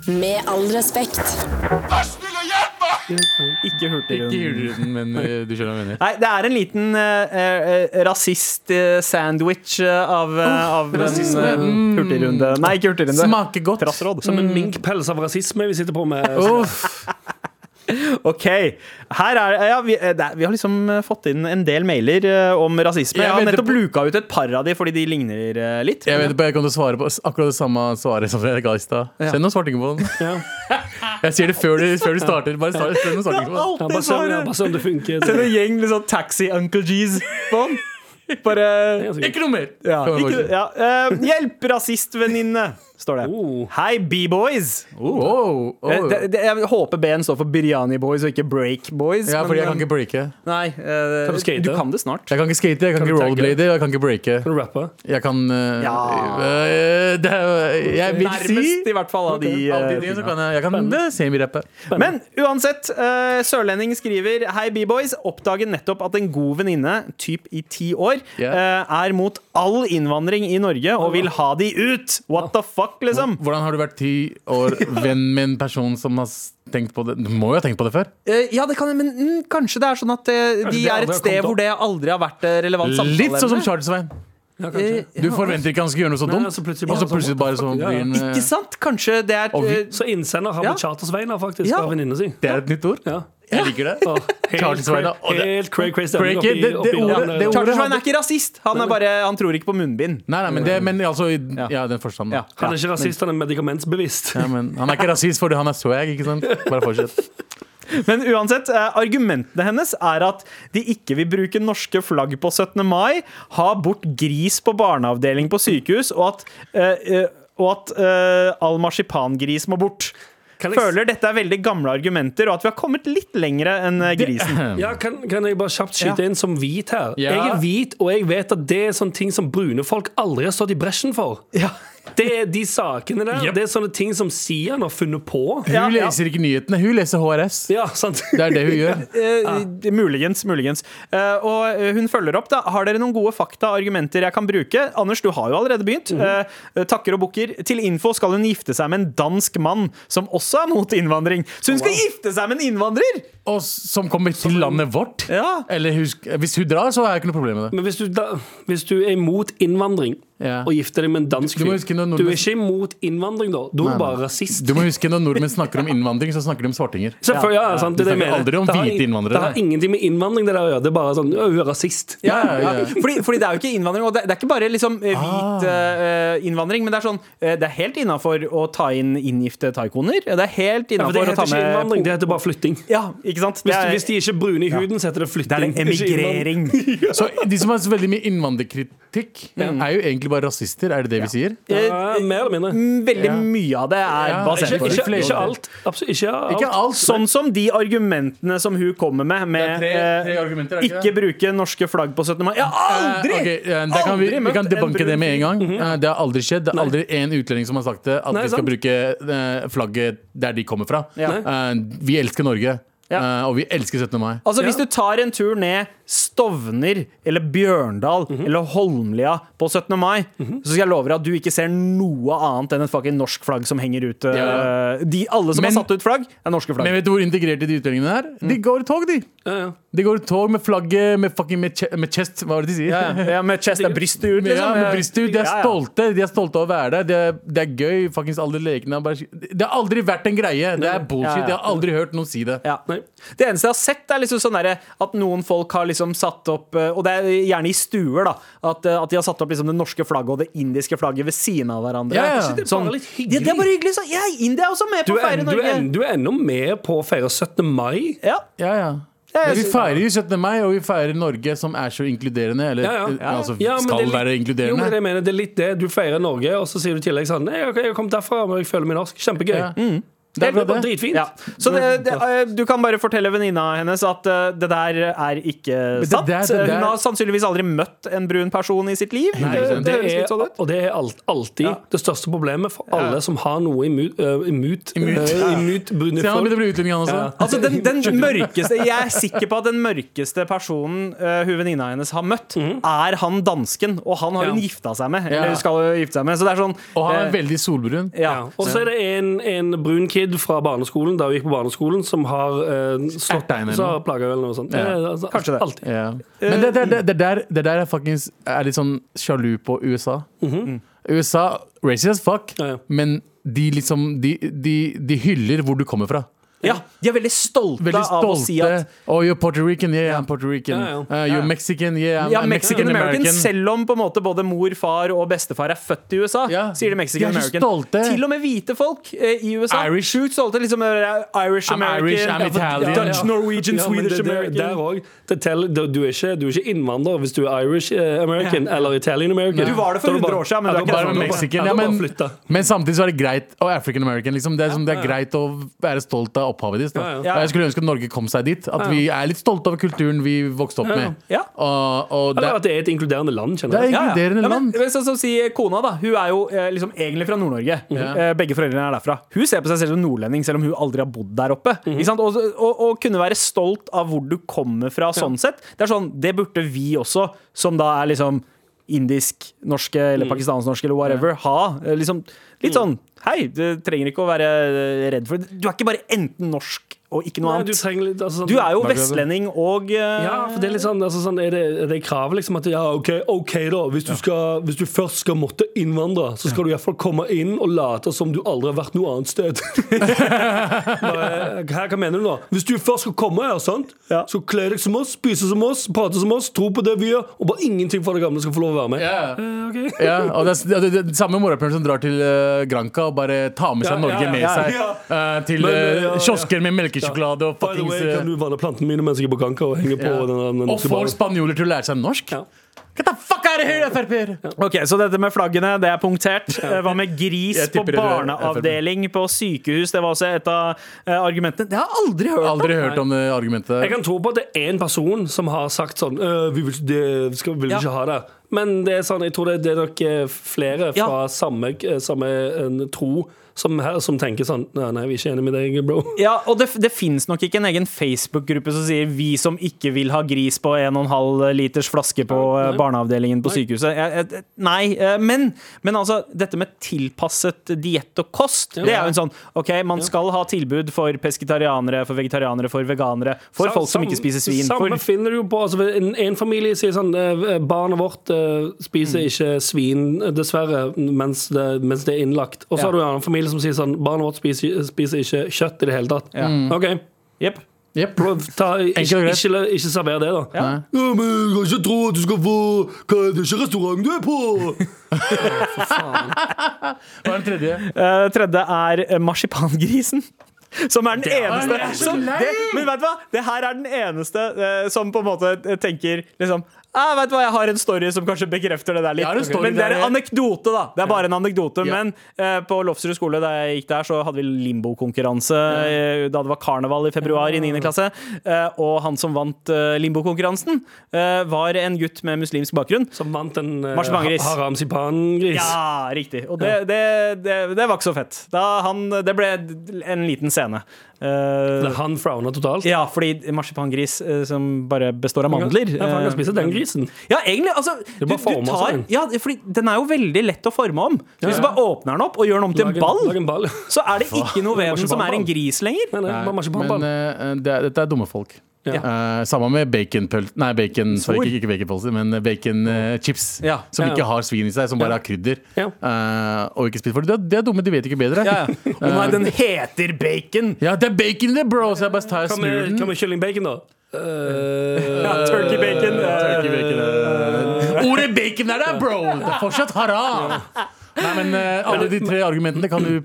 Speaker 1: Med all respekt.
Speaker 2: Ikke
Speaker 3: Ikke
Speaker 2: Hurtigruten.
Speaker 3: Hurtigruten, men eh, du skjønner hva jeg mener.
Speaker 2: Nei, det er en liten eh, rasist-sandwich av, eh, av den
Speaker 3: rasisme.
Speaker 2: eh, hurtigrunde. Nei, ikke hurtigrunde.
Speaker 3: mm, Smaker godt.
Speaker 2: Trassråd.
Speaker 4: Som en minkpels av rasisme vi sitter på med.
Speaker 3: Mm. Uff.
Speaker 2: Ok, her er ja, vi, eh, det, er- vi har liksom eh, fått inn en del mailer eh, om rasisme.
Speaker 3: Jeg
Speaker 2: Jeg har
Speaker 3: venter
Speaker 2: nettopp
Speaker 3: på-
Speaker 2: luka ut et par av de fordi de ligner eh, litt.
Speaker 3: Jeg vet ikke, jeg kommer til å svare på s- akkurat det samme svaret som jeg ga i stad. Send noen svartinger på den.
Speaker 4: Ja.
Speaker 3: Jeg sier det før du, før du starter. Bare start, send noen svartinger på den.
Speaker 4: Ja, bare se
Speaker 2: sånn,
Speaker 4: om- ja, bare se om det funker.
Speaker 2: Det er en gjeng liksom taxi uncle G's på den. Bare
Speaker 3: Ikke noe mer!
Speaker 2: ja,
Speaker 3: Kan man
Speaker 2: ikke,
Speaker 3: bare si.
Speaker 2: ja. eh, Hjelp, rasistvenninne, står det.
Speaker 4: Oh.
Speaker 2: Hei, B-boys.
Speaker 3: Wow, oh.
Speaker 2: Eh,
Speaker 3: wow.
Speaker 2: det- det- Jeg håper B-en står for Biryani Boys og ikke Break Boys.
Speaker 3: Ja,
Speaker 2: men,
Speaker 3: fordi jeg kan
Speaker 2: eh,
Speaker 3: ikke breake.
Speaker 2: Nei, eh,
Speaker 4: Kan du skate?
Speaker 2: du kan det snart.
Speaker 3: Jeg kan ikke skate, jeg kan,
Speaker 4: Kan du
Speaker 3: ikke
Speaker 4: tagge?
Speaker 3: rollerblade, og jeg kan ikke breake.
Speaker 4: Kan du rappe?
Speaker 3: Jeg kan øh,
Speaker 2: Ja.
Speaker 3: øh, det, er- Jeg vil si
Speaker 2: Nærmest, i hvert fall, av de.
Speaker 3: Av de
Speaker 2: eh,
Speaker 3: tre så kan jeg, jeg kan øh, semirappe.
Speaker 2: Men uansett, eh, Sørlending skriver Hei B-boys, oppdaget nettopp at en god venninne, typ i ti år,
Speaker 3: Yeah.
Speaker 2: eh, er mot all innvandring i Norge og vil ha de ut! What the fuck, liksom?
Speaker 3: Hvordan har du vært ti år venn med en person som har s- tenkt på det? Du må jo ha tenkt på det før.
Speaker 2: Eh, ja, det kan jeg, men mm, kanskje det er sånn at eh, de
Speaker 4: det
Speaker 2: er et
Speaker 4: aldri har
Speaker 2: sted
Speaker 4: kommet
Speaker 2: hvor
Speaker 4: opp.
Speaker 2: det aldri har vært eh, relevant samtaleemne.
Speaker 3: Litt sånn som Charles-Svein.
Speaker 4: Ja, kanskje.
Speaker 2: Eh,
Speaker 3: Du forventer ikke han skal gjøre noe så
Speaker 4: Nei,
Speaker 3: dumt,
Speaker 4: og så plutselig
Speaker 3: og så
Speaker 4: bare
Speaker 3: plutselig
Speaker 4: sånn,
Speaker 3: bare så
Speaker 4: ja.
Speaker 3: blir han øh,
Speaker 2: Ikke sant? Kanskje det er
Speaker 3: Og vi-
Speaker 2: eh,
Speaker 4: Så innsender har
Speaker 2: Ja.
Speaker 4: blitt chartersveiner, faktisk,
Speaker 2: Ja.
Speaker 4: av venninna si.
Speaker 3: Det er et nytt ord.
Speaker 4: Ja.
Speaker 3: Jeg liker det.
Speaker 4: Å, Helt
Speaker 3: Chartersveiner, og det-
Speaker 4: cray-cray stemning
Speaker 3: Break it, det- det ordet-
Speaker 4: eh,
Speaker 3: det ordet-
Speaker 2: Chartersveien er ikke rasist! Han, er bare, han tror ikke på munnbind.
Speaker 3: Nei, nei, men, det, men altså i- Ja, den forstanden.
Speaker 2: Ja.
Speaker 3: Ja.
Speaker 4: Han er ikke rasist, han er medikamentsbevisst.
Speaker 3: men han er ikke rasist fordi han er swag, ikke sant? Bare fortsett.
Speaker 2: Men uansett, eh, argumentene hennes er at de ikke vil bruke norske flagg på 17. mai, ha bort gris på barneavdeling på sykehus, og at, eh, eh, og at eh, all marsipangris må bort.
Speaker 4: Kan jeg-
Speaker 2: Føler dette er veldig gamle argumenter, og at vi har kommet litt lengre enn eh, grisen.
Speaker 4: Ja, kan, kan jeg bare kjapt skyte
Speaker 2: Ja.
Speaker 4: inn som hvit her?
Speaker 3: Ja.
Speaker 4: Jeg er hvit, og jeg vet at det er sånne ting som brune folk aldri har stått i bresjen for.
Speaker 2: Ja.
Speaker 4: Det er de sakene der. Det er sånne ting som Sian har funnet på.
Speaker 3: Hun leser ikke nyhetene, hun leser HRS.
Speaker 4: Ja, sant?
Speaker 3: Det er det hun gjør.
Speaker 2: Eh,
Speaker 4: Ah.
Speaker 2: eh, Muligens, muligens. Eh, og eh, hun følger opp, da. Har dere noen gode fakta og argumenter jeg kan bruke? Anders, du har jo allerede begynt.
Speaker 4: Mhm.
Speaker 2: Eh, takker og bukker. Til info skal hun gifte seg med en dansk mann som også er mot innvandring. Så hun skal gifte seg med en innvandrer!
Speaker 3: Og s- som kommer til landet vårt.
Speaker 2: Ja.
Speaker 3: Eller husk, hvis hun drar, så har jeg ikke noe problem med det.
Speaker 4: Men hvis du, da, hvis du er imot innvandring
Speaker 3: Ja.
Speaker 4: og gifter deg med en dansk
Speaker 3: Du må
Speaker 4: fyr
Speaker 3: huske når nordmenn-
Speaker 4: Du er ikke imot innvandring, da. Du er bare rasist.
Speaker 3: Du må huske Når nordmenn snakker om innvandring, så snakker de om svartinger.
Speaker 4: Selvfølgelig, ja, sant, det
Speaker 3: Vi
Speaker 4: er det jeg
Speaker 3: snakker
Speaker 4: mener.
Speaker 3: aldri om
Speaker 4: Det har
Speaker 3: hvite
Speaker 4: ing-
Speaker 3: innvandrere.
Speaker 4: Det har ingenting med innvandring det der å gjøre. Det er bare sånn, «Å, hun er rasist.
Speaker 3: Ja, ja, ja.
Speaker 2: Fordi, fordi det er jo ikke innvandring. Og det, det er ikke bare liksom eh,
Speaker 4: Ah.
Speaker 2: hvit eh, innvandring, men det er sånn eh, Det er helt innafor å ta inn inngifte taikoner. Det er helt
Speaker 4: Ja, for det
Speaker 2: innafor å
Speaker 4: heter
Speaker 2: ta
Speaker 4: ikke
Speaker 2: med
Speaker 4: innvandring, det heter bare flytting.
Speaker 2: Ja, ikke sant? Det
Speaker 4: Hvis,
Speaker 2: er,
Speaker 4: hvis de ikke er brune i huden, så heter
Speaker 2: det er
Speaker 4: det flytting.
Speaker 2: en
Speaker 4: ikke innvandring.
Speaker 2: emigrering.
Speaker 3: Så de som har så veldig mye innvandrerkritikk, er jo egentlig bare rasister. Er det det vi sier?
Speaker 4: Ja, mer eller mindre.
Speaker 2: Veldig
Speaker 3: Ja.
Speaker 2: mye av det er
Speaker 3: Ja,
Speaker 2: basert
Speaker 4: Ikke,
Speaker 2: på det.
Speaker 4: ikke, ikke alt. Absolutt ikke alt.
Speaker 3: Ikke alt.
Speaker 2: Sånn som de argumentene som hun kommer med, med
Speaker 3: Det er tre- tre
Speaker 2: eh,
Speaker 3: argumenter, er det
Speaker 2: ikke
Speaker 3: ikke
Speaker 2: bruke norske flagg på 17. mai. Jeg har aldri!
Speaker 3: Eh, ok, eh, da kan vi,
Speaker 2: aldri
Speaker 3: vi kan
Speaker 2: møtt en brun
Speaker 3: debanke
Speaker 2: Mhm.
Speaker 3: det med en gang. Eh, Det har aldri skjedd. Det er aldri én utlending som har sagt det, at
Speaker 4: Nei,
Speaker 3: de skal
Speaker 4: sant.
Speaker 3: bruke eh, flagget der de kommer fra.
Speaker 2: Ja.
Speaker 3: Eh, Vi elsker Norge,
Speaker 2: Ja.
Speaker 3: eh, og vi elsker 17. mai.
Speaker 2: Altså, hvis du
Speaker 4: Ja.
Speaker 2: tar en tur ned Stovner eller Bjørndal
Speaker 3: Mhm.
Speaker 2: eller Holmlia på 17. mai, så skal jeg love deg at du ikke ser noe annet enn et fucking norsk flagg som henger ut. eh,
Speaker 3: Ja.
Speaker 2: De, alle som
Speaker 3: Men-
Speaker 2: har satt ut flagg, er norske flagg.
Speaker 3: Men vet du hvor integrerte de utlendingene er? De går i tog, de.
Speaker 4: Mm. Ja, ja.
Speaker 3: De går i tog med flagget, med, fucking, med, che med chest, hva var det de sier?
Speaker 2: ja, med chest er brystet ut, liksom.
Speaker 3: Ja,
Speaker 4: eh,
Speaker 3: med brystet ut. De er
Speaker 2: Ja, ja.
Speaker 3: stolte De er stolte av å være der. Det er, det er gøy. Fuckings alle lekene er bare Det har aldri vært en greie. Det er
Speaker 2: Ja, ja.
Speaker 3: bullshit. Jeg har aldri hørt noen si det.
Speaker 2: Ja.
Speaker 4: Nei.
Speaker 2: Det eneste jeg har sett, er liksom sånn derre at noen folk har liksom satt opp eh, Og det er gjerne i stuer, da. At, eh, at de har satt opp liksom det norske flagget og det indiske flagget ved siden av hverandre.
Speaker 3: Ja, ja.
Speaker 2: Sånn-
Speaker 3: Det
Speaker 4: er bare litt hyggelig.
Speaker 2: Det, det er bare hyggelig. Så, ja, India er også med
Speaker 4: Du,
Speaker 2: på å
Speaker 4: er,
Speaker 2: feire
Speaker 4: du,
Speaker 2: Norge.
Speaker 4: er, du er ennå med på å feire 17. mai.
Speaker 2: Ja.
Speaker 3: Ja, ja.
Speaker 2: jeg
Speaker 3: vi
Speaker 2: synes-
Speaker 3: feirer jo 17. mai, og vi feirer Norge, som er så inkluderende. Eller
Speaker 4: Ja, ja.
Speaker 3: eh, altså
Speaker 4: Ja, men
Speaker 3: skal
Speaker 4: det er
Speaker 3: være
Speaker 4: litt- Jo, men det, er det
Speaker 3: inkluderende.
Speaker 4: jeg mener, det er litt det. Du feirer Norge, og så sier du i tillegg sånn Nei, jeg, jeg kom derfra, men jeg føler meg norsk. Kjempegøy.
Speaker 3: Ja.
Speaker 4: Mm. Det er
Speaker 3: akkurat
Speaker 4: bare
Speaker 3: det.
Speaker 4: dritfint.
Speaker 2: Ja. Så det, det, eh, du kan bare fortelle venninna hennes at eh, det der er ikke
Speaker 3: det
Speaker 2: sant.
Speaker 3: der- det der-
Speaker 2: Hun har sannsynligvis aldri møtt en brun person i sitt liv.
Speaker 3: Nei,
Speaker 2: det,
Speaker 3: sant.
Speaker 2: det
Speaker 4: Det
Speaker 2: høres litt
Speaker 4: er,
Speaker 2: sånn ut.
Speaker 4: og det er alt, alltid
Speaker 2: Ja.
Speaker 4: det største problemet for alle som har noe imot, øh,
Speaker 3: Imot.
Speaker 4: imot, øh, imot brune
Speaker 3: Se, han
Speaker 4: folk.
Speaker 3: begynner å bli utlending, han også.
Speaker 4: Ja.
Speaker 2: Altså den, den mørkeste Jeg er sikker på at den mørkeste personen eh, hun venninna hennes har møtt, er han dansken. Og han har hun
Speaker 4: Ja.
Speaker 2: gifta seg med.
Speaker 3: Mhm. Ja.
Speaker 2: Eller skal jo gifte seg med. Så det er sånn
Speaker 3: Og han er
Speaker 2: eh,
Speaker 3: veldig solbrun.
Speaker 2: ja.
Speaker 4: Ja. Og så er det en, en brun kid fra barneskolen Da vi gikk på barneskolen som har eh, slått
Speaker 3: Ertegn eller
Speaker 4: Så
Speaker 3: noe.
Speaker 4: har plaga eller noe sånt.
Speaker 3: Ja.
Speaker 4: Eh, altså,
Speaker 2: Kanskje det.
Speaker 4: Alltid.
Speaker 3: Ja. Men det, det, det, det, der, det der er faktisk er litt sånn sjalu på USA. Mm. USA racist as fuck,
Speaker 4: Mhm. Ja, ja.
Speaker 3: men de liksom de, de, de hyller hvor du kommer fra.
Speaker 2: ja, de er veldig stolte,
Speaker 3: Veldig
Speaker 2: av å
Speaker 3: stolte.
Speaker 2: si at
Speaker 3: oh, you're Puerto Rican, yeah, I'm Puerto Rican.
Speaker 4: Ja, ja.
Speaker 3: Uh, you're Mexican, yeah, I'm,
Speaker 2: ja,
Speaker 3: I'm
Speaker 2: Mexican American, selv om på en måte både mor, far og bestefar er født i USA,
Speaker 3: Ja.
Speaker 2: sier de Mexican
Speaker 3: De er så
Speaker 2: American.
Speaker 3: stolte.
Speaker 2: Til og med hvite folk eh, i USA.
Speaker 3: Irish.
Speaker 2: Sjukt stolte. Liksom, eh, Irish
Speaker 3: I'm
Speaker 2: American,
Speaker 3: Irish, I'm
Speaker 2: ja, for-
Speaker 3: Italian.
Speaker 2: Dutch, Norwegian,
Speaker 4: men
Speaker 2: Swedish
Speaker 4: det, det,
Speaker 2: American.
Speaker 4: Der òg. Det teller- Du, du, er ikke- du er ikke innvandrer hvis du er Irish eh, American eller Italian American.
Speaker 2: Du var det for
Speaker 4: Da er
Speaker 2: 100 år siden, men det er
Speaker 4: ja, da
Speaker 2: ikke
Speaker 3: Bare
Speaker 2: sånn.
Speaker 4: da
Speaker 3: Mexican.
Speaker 4: da
Speaker 3: Ja,
Speaker 4: bare
Speaker 3: men,
Speaker 4: flytta.
Speaker 3: men samtidig så er det greit Og African American. Liksom. Det, er, som, det er greit å være stolt av opphavet ditt. da.
Speaker 4: Ja,
Speaker 2: ja.
Speaker 3: Og Jeg skulle ønske at Norge kom seg dit. At vi er litt stolte over kulturen vi vokste opp
Speaker 4: Ja, ja.
Speaker 3: med.
Speaker 2: Ja.
Speaker 3: Og, og det,
Speaker 4: Eller at det er et inkluderende land,
Speaker 3: det
Speaker 4: kjenner
Speaker 3: er
Speaker 4: jeg.
Speaker 3: inkluderende
Speaker 2: ja, men,
Speaker 3: land.
Speaker 2: men sånn som sier kona, da. Hun er jo eh, liksom egentlig fra Nord-Norge. Eh, begge foreldrene er derfra. Hun ser på seg selv som nordlending, selv om hun aldri har bodd der oppe.
Speaker 4: Mhm.
Speaker 2: Ikke sant? Og, og, og kunne være stolt av hvor du kommer fra, sånn sett. Det er sånn, det burde vi også, som da er liksom indisk, norske
Speaker 4: Mm.
Speaker 2: eller pakistansk norske eller whatever, ha. Eh, Liksom, litt sånn Hei, du trenger ikke å være eh, redd for det. Du er ikke bare enten norsk og ikke noe
Speaker 4: Nei,
Speaker 2: annet.
Speaker 4: du,
Speaker 2: Du,
Speaker 4: trenger litt, altså, sånn-
Speaker 2: er jo vestlending og eh,
Speaker 4: Ja, for det er litt sånn, altså, sånn er, det, er det krav liksom at ja, OK, ok da. Hvis du, skal, hvis du først skal måtte innvandre, så skal du iallfall komme inn og late som du aldri har vært noe annet sted. Bare, Hva, hva mener du nå? Hvis du først skal komme her, sant?
Speaker 2: Ja.
Speaker 4: så kle deg som oss, spise som oss, prate som oss, tro på det vi gjør, og bare ingenting fra det gamle skal få lov å være med.
Speaker 3: Ja.
Speaker 4: Eh, ok.
Speaker 3: Ja, og det er det, er- det er samme morapuleren som drar til eh, Granca og bare tar med seg
Speaker 4: Ja,
Speaker 3: Norge
Speaker 4: ja, ja,
Speaker 3: med
Speaker 4: ja.
Speaker 3: seg. eh, til
Speaker 4: Men, eh, ja,
Speaker 3: eh,
Speaker 4: ja.
Speaker 3: kiosker med melkesjokolade og
Speaker 4: By the way,
Speaker 3: fuckings eh,
Speaker 4: kan du vanne plantene mine mens jeg er på ganka og henger på
Speaker 3: ja.
Speaker 4: den, den, den
Speaker 3: Og får spanjoler til å lære seg norsk?
Speaker 4: Ja.
Speaker 3: Get the fuck out of here, Frp-er!
Speaker 2: Ok, Så dette med flaggene, det er punktert. Eh, Hva med gris
Speaker 3: Jeg
Speaker 2: på
Speaker 3: tipper det er
Speaker 2: barneavdeling på sykehus? Det var også et av eh, argumentene. Det har jeg aldri hørt om!
Speaker 3: Aldri hørt om det argumentet.
Speaker 4: Jeg kan tro på at det er en person som har sagt sånn «Øh, Vi vil, det, skal, vil
Speaker 2: Ja.
Speaker 4: ikke ha det. Men det er sånn, jeg tror det, det er nok eh, flere
Speaker 2: Ja.
Speaker 4: fra samme, eh, samme eh, tro som, her, som tenker sånn Nei, nei, vi er ikke enige med deg, bro.
Speaker 2: Ja, og det, det fins nok ikke en egen Facebook-gruppe som sier 'vi som ikke vil ha gris på 1,5 liters flaske på eh,
Speaker 4: Nei.
Speaker 2: barneavdelingen på
Speaker 4: Nei.
Speaker 2: sykehuset'. Jeg- jeg- Nei, eh, men, men altså, dette med tilpasset diett og kost, det er jo en sånn OK, man skal ha tilbud for pesketarianere, for vegetarianere, for veganere, for
Speaker 4: Sa-
Speaker 2: folk som
Speaker 4: sam-
Speaker 2: ikke spiser svin,
Speaker 4: Samme
Speaker 2: for
Speaker 4: finner du jo på. Altså, en, en familie sier sånn «Eh, Barnet vårt eh, spiser ikke svin, eh, dessverre, mens det, mens det er innlagt. Og så
Speaker 2: Ja.
Speaker 4: har du en annen familie som sier sånn Barnet vårt spiser, spiser ikke kjøtt i det hele tatt. OK,
Speaker 2: Jepp.
Speaker 3: Jep.
Speaker 4: prøv, ta, ikke,
Speaker 3: Enkelt og
Speaker 4: ikke,
Speaker 3: greit.
Speaker 4: ikke, server det, da.
Speaker 2: Ja.
Speaker 3: Nei.
Speaker 6: Ja, men jeg kan ikke tro at du skal få Hva er det ikke restaurant du er på?
Speaker 3: Hva er den tredje?
Speaker 2: Eh, tredje er eh, marsipangrisen. Som er den eneste
Speaker 3: jeg er så
Speaker 2: som,
Speaker 3: lei!
Speaker 2: det, Men vet du hva? Det her er den eneste eh, som på en måte eh, tenker liksom ah, vet du hva, Jeg har en story som kanskje bekrefter det der
Speaker 3: Jeg har en
Speaker 2: litt.
Speaker 3: story
Speaker 2: Men det er
Speaker 3: der-
Speaker 2: en anekdote, da. Det er bare en anekdote.
Speaker 3: Ja.
Speaker 2: Men eh, på Lofsrud skole, da jeg gikk der, så hadde vi limbokonkurranse eh, da det var karneval i februar i 9. klasse. Eh, og han som vant eh, limbokonkurransen, eh, var en gutt med muslimsk bakgrunn.
Speaker 4: Som vant en eh,
Speaker 2: Marsipangris.
Speaker 4: ha- haram sipan-gris.
Speaker 2: Ja, riktig. Og det, det, det, det var ikke så fett. Da han, det ble en liten scene. Eh,
Speaker 4: Det er Han frowner totalt.
Speaker 2: ja, fordi marsipangris eh, som bare består av mandler
Speaker 4: Ja, for han
Speaker 2: eh,
Speaker 4: kan spise den grisen.
Speaker 2: Ja, egentlig. Altså, du,
Speaker 4: er bare
Speaker 2: du
Speaker 4: å forme
Speaker 2: tar,
Speaker 4: seg.
Speaker 2: ja, fordi den er jo veldig lett å forme om. Så Hvis du bare åpner den opp og gjør den om til
Speaker 4: Lag
Speaker 2: en ball,
Speaker 4: Lag en ball.
Speaker 2: så er det ikke noe ved
Speaker 4: Det var
Speaker 2: den
Speaker 4: ikke
Speaker 2: som er en
Speaker 4: ball.
Speaker 2: gris lenger.
Speaker 4: Nei, nei, bare
Speaker 3: Men
Speaker 4: marsipanball.
Speaker 3: eh, det er, dette er dumme folk.
Speaker 4: Ja.
Speaker 3: Eh, samme med baconpølse Nei, bacon, sorry,
Speaker 2: Svor.
Speaker 3: ikke, ikke baconpølse, men baconchips.
Speaker 2: Ja.
Speaker 3: Som
Speaker 4: Ja, ja.
Speaker 3: ikke har svin i seg, som bare
Speaker 4: Ja.
Speaker 3: har krydder.
Speaker 4: Ja.
Speaker 3: Eh, og ikke spiser for det. er- Det er dumme, de vet ikke bedre. Eh,
Speaker 2: Ja, ja. Å nei, den heter bacon!
Speaker 3: Ja, det er bacon i det, bro! Så jeg bare tar og
Speaker 4: Hva
Speaker 3: snur
Speaker 4: med, hva
Speaker 3: den.
Speaker 4: med kyllingbacon, da? Eh,
Speaker 2: Ja, turkey bacon. eh,
Speaker 3: Turkey bacon, eh. Ordet bacon er der, bro! Det er fortsatt haram! Nei, men eh, alle de tre argumentene kan du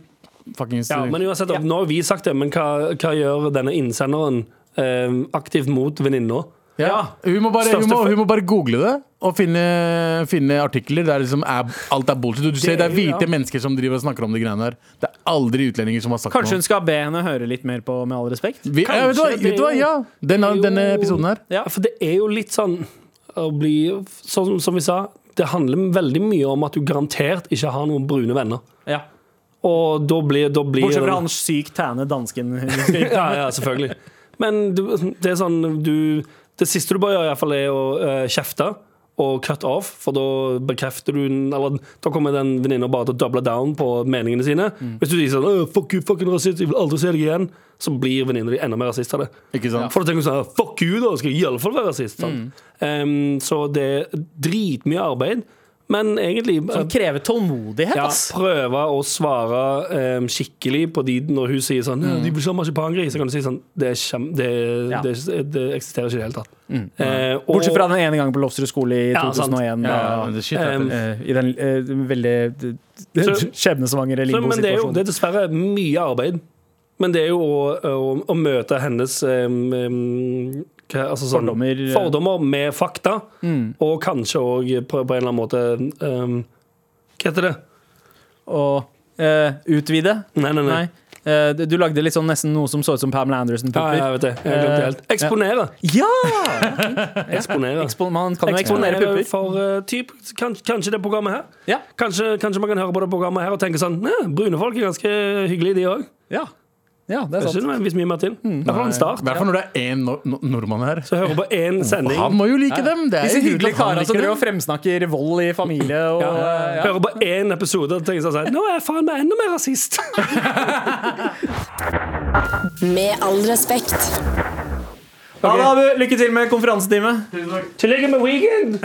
Speaker 3: fuckings
Speaker 4: ja, men uansett, da, Nå har vi sagt det, men hva, hva gjør denne innsenderen eh, aktivt mot venninna?
Speaker 3: Ja. Hun, må bare, hun, må, hun må bare google det og finne, finne artikler der liksom er, alt er bullshit. Du, du ser, det er hvite mennesker som driver og snakker om de greiene der. Det er aldri utlendinger som har sagt
Speaker 2: Kanskje
Speaker 3: noe.
Speaker 2: hun skal be henne høre litt mer på, med all respekt?
Speaker 3: Vi, ja, vet du hva,
Speaker 4: Kanskje det
Speaker 3: vet du hva?
Speaker 4: er jo-
Speaker 3: Ja, denne, denne episoden her.
Speaker 2: Ja.
Speaker 4: Ja, for det er jo litt sånn å bli Sånn som vi sa, det handler veldig mye om at du garantert ikke har noen brune venner.
Speaker 2: Ja.
Speaker 4: Og da blir, da blir
Speaker 2: Bortsett fra
Speaker 4: den-
Speaker 2: han sykt tæne dansken.
Speaker 4: ja, ja, selvfølgelig. Men du, det er sånn du, Det siste du bør gjøre, i hvert fall er å eh, kjefte og cut off, for da bekrefter du den- Eller da kommer den venninna bare til å double down på meningene sine.
Speaker 2: Mm.
Speaker 4: Hvis du sier sånn «Åh, 'fuck you, fucking rasist, jeg vil aldri se deg igjen', så blir venninna di enda mer rasist av det.
Speaker 3: Ikke sant?
Speaker 4: For da tenker du sånn Fuck you, da! Skal jeg iallfall være rasist? sant?
Speaker 2: Mm.
Speaker 4: Em, så det er dritmye arbeid, men egentlig
Speaker 2: Som krever tålmodighet,
Speaker 4: ja,
Speaker 2: ass.
Speaker 4: prøve å svare em, skikkelig på de når hun sier sånn «Ja, 'De vil ikke ha marsipangris', så kan du si sånn Det, er kjem, det,
Speaker 2: Mm. Ja. Mm.
Speaker 4: det, det, eksisterer ikke i det hele tatt. Eh, og-
Speaker 2: Bortsett fra den ene gangen på Lofsrud skole i
Speaker 4: Ja, sant.
Speaker 2: 2001.
Speaker 3: Ja,
Speaker 2: da,
Speaker 3: det er shit,
Speaker 4: Em,
Speaker 3: vet du.
Speaker 2: eh, I den eh, veldig eh,
Speaker 4: Så-
Speaker 2: skjebnesvangre
Speaker 4: så, men det er jo
Speaker 2: limbosituasjonen.
Speaker 4: det er dessverre mye arbeid. Men det er jo å, å, å møte hennes em, em, hva, altså sånn,
Speaker 2: Fordommer, eh.
Speaker 4: fordommer med fakta,
Speaker 2: Mm.
Speaker 4: og kanskje òg på, på en eller annen måte em, Hva heter det?
Speaker 2: og eh, utvide.
Speaker 4: Nei, nei, nei.
Speaker 2: Nei. Eh, du- du lagde litt sånn nesten noe som så ut som Pamela
Speaker 4: Ja,
Speaker 2: Anderson-pupper.
Speaker 4: jeg vet det. Jeg glemte det helt. Eksponere!
Speaker 2: Eh, ja!
Speaker 4: Eksponere.
Speaker 2: Ekspo- Man kan jo eksponere
Speaker 4: Eksponere
Speaker 2: pupper.
Speaker 4: for eh, typ, kan, Kanskje det programmet her.
Speaker 2: Ja.
Speaker 4: Kanskje, kanskje man kan høre på det programmet her og tenke sånn «Nei, Brune folk er ganske hyggelige, de òg.
Speaker 2: Ja. ja, det er
Speaker 4: Ikke
Speaker 2: sant. Mm.
Speaker 4: nødvendigvis mye mer til. I hvert fall en
Speaker 3: I
Speaker 4: start.
Speaker 3: hvert fall når det er én nor nor- nordmann her.
Speaker 4: Så hører på én sending.
Speaker 3: Han må jo like dem! Det er
Speaker 2: Disse hyggelige
Speaker 3: jo hyggelig at han
Speaker 2: karene som
Speaker 3: liker
Speaker 2: driver altså. og
Speaker 3: dem.
Speaker 2: fremsnakker vold i familie og eh, ja.
Speaker 4: Hører på én episode og tenker sånn Nå er jeg faen meg enda mer rasist!
Speaker 1: Med all respekt.
Speaker 2: Ha det, Abu. Lykke til med konferansetime.
Speaker 4: Til lykke med weekend!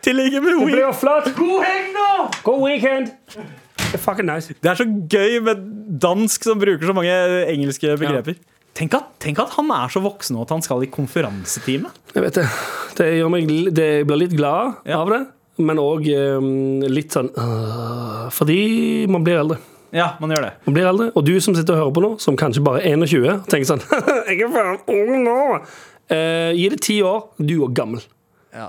Speaker 2: Til like med
Speaker 4: Det
Speaker 2: Wii.
Speaker 4: blir flott! God helg, nå! God weekend! Det er Fucking nice.
Speaker 2: Det er så gøy med dansk som bruker så mange engelske begreper. Tenk, at, tenk at han er så voksen og at han skal i konferansetime.
Speaker 4: Jeg vet det. Det gjør meg det, Jeg blir litt glad
Speaker 2: Ja.
Speaker 4: av det, men òg litt sånn øh, Fordi man blir eldre.
Speaker 2: Ja, man gjør det.
Speaker 4: Man blir eldre, og du som sitter og hører på nå, som kanskje bare er 21, tenker sånn Jeg er faen ung nå! Eh, gi det ti år, du er gammel.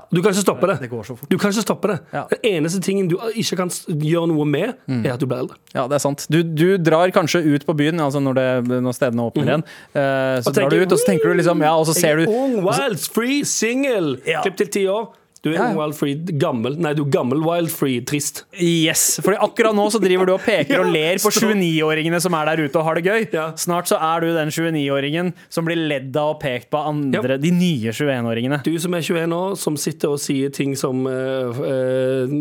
Speaker 4: Du kan ikke stoppe det.
Speaker 2: Det går så fort.
Speaker 4: Du kan ikke stoppe det.
Speaker 2: Ja. Mm.
Speaker 4: Den eneste tingen du ikke kan s- gjøre noe med, er at du blir eldre.
Speaker 2: Ja, det er sant. Du, du drar kanskje ut på byen altså når, det, når stedene åpner igjen. Eh, så
Speaker 4: Og
Speaker 2: drar
Speaker 4: tenker,
Speaker 2: du ut, og så tenker du liksom Ja, og så ser
Speaker 4: Jeg
Speaker 2: du
Speaker 4: er Ung, wild, free, single!
Speaker 2: Ja.
Speaker 4: Klipp til ti år. Du er
Speaker 2: Ja, ja.
Speaker 4: ung, wild, free, gammel. Nei, du er gammel, wild, free, trist.
Speaker 2: Yes! Fordi akkurat nå så driver du og peker og ler på 29-åringene som er der ute og har det gøy.
Speaker 4: Ja.
Speaker 2: Snart så er du den 29-åringen som blir ledd av og pekt på av andre, de nye 21-åringene.
Speaker 4: Du som er 21 år, som sitter og sier ting som eh, eh,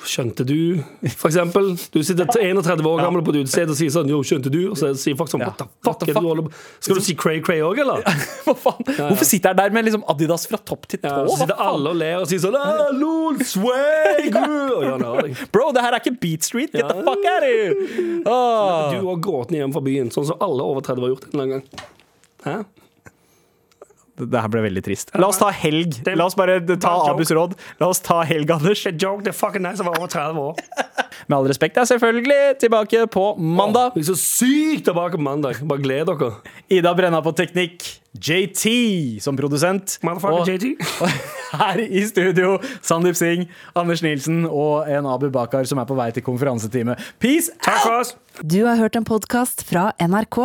Speaker 4: Skjønte du, for eksempel? Du sitter til 31 år gammel på et utested og sier sånn Jo, skjønte du? Og så sier folk sånn
Speaker 2: Ja.
Speaker 4: What the fuck? er det du holder på? Skal du si Cray Cray òg, eller?
Speaker 2: Hva faen? Hvorfor sitter jeg der med liksom Adidas fra topp til tå?
Speaker 4: Ja, så
Speaker 2: Hva
Speaker 4: sitter
Speaker 2: faen?
Speaker 4: alle og ler og sier sånn «Ah, Lol, swag! uh!» Og gjør narr av deg.
Speaker 2: Bro, det her er ikke Beat Street! Get the
Speaker 4: Ja.
Speaker 2: fuck out of here! Ah. Åh.
Speaker 4: Du og gråten hjem fra byen, sånn som alle over 30 har gjort en eller annen gang. Hæ?
Speaker 2: Det her ble veldig trist. La oss ta helg. La oss bare ta
Speaker 4: joke.
Speaker 2: Abus råd. La oss ta helg, Anders.
Speaker 4: Det er joke, det er fucking nice å være over 30 år.
Speaker 2: Med all respekt er selvfølgelig tilbake på mandag.
Speaker 4: Vi er så sykt tilbake på mandag. Bare gled dere.
Speaker 2: Ida Brenna på teknikk. JT som produsent.
Speaker 4: Motherfucker JT.
Speaker 2: her i studio, Sandeep Singh, Anders Nilsen og en Abu Bakar som er på vei til konferansetime. Peace
Speaker 4: Takk for oss.
Speaker 7: Du har hørt en podkast fra NRK.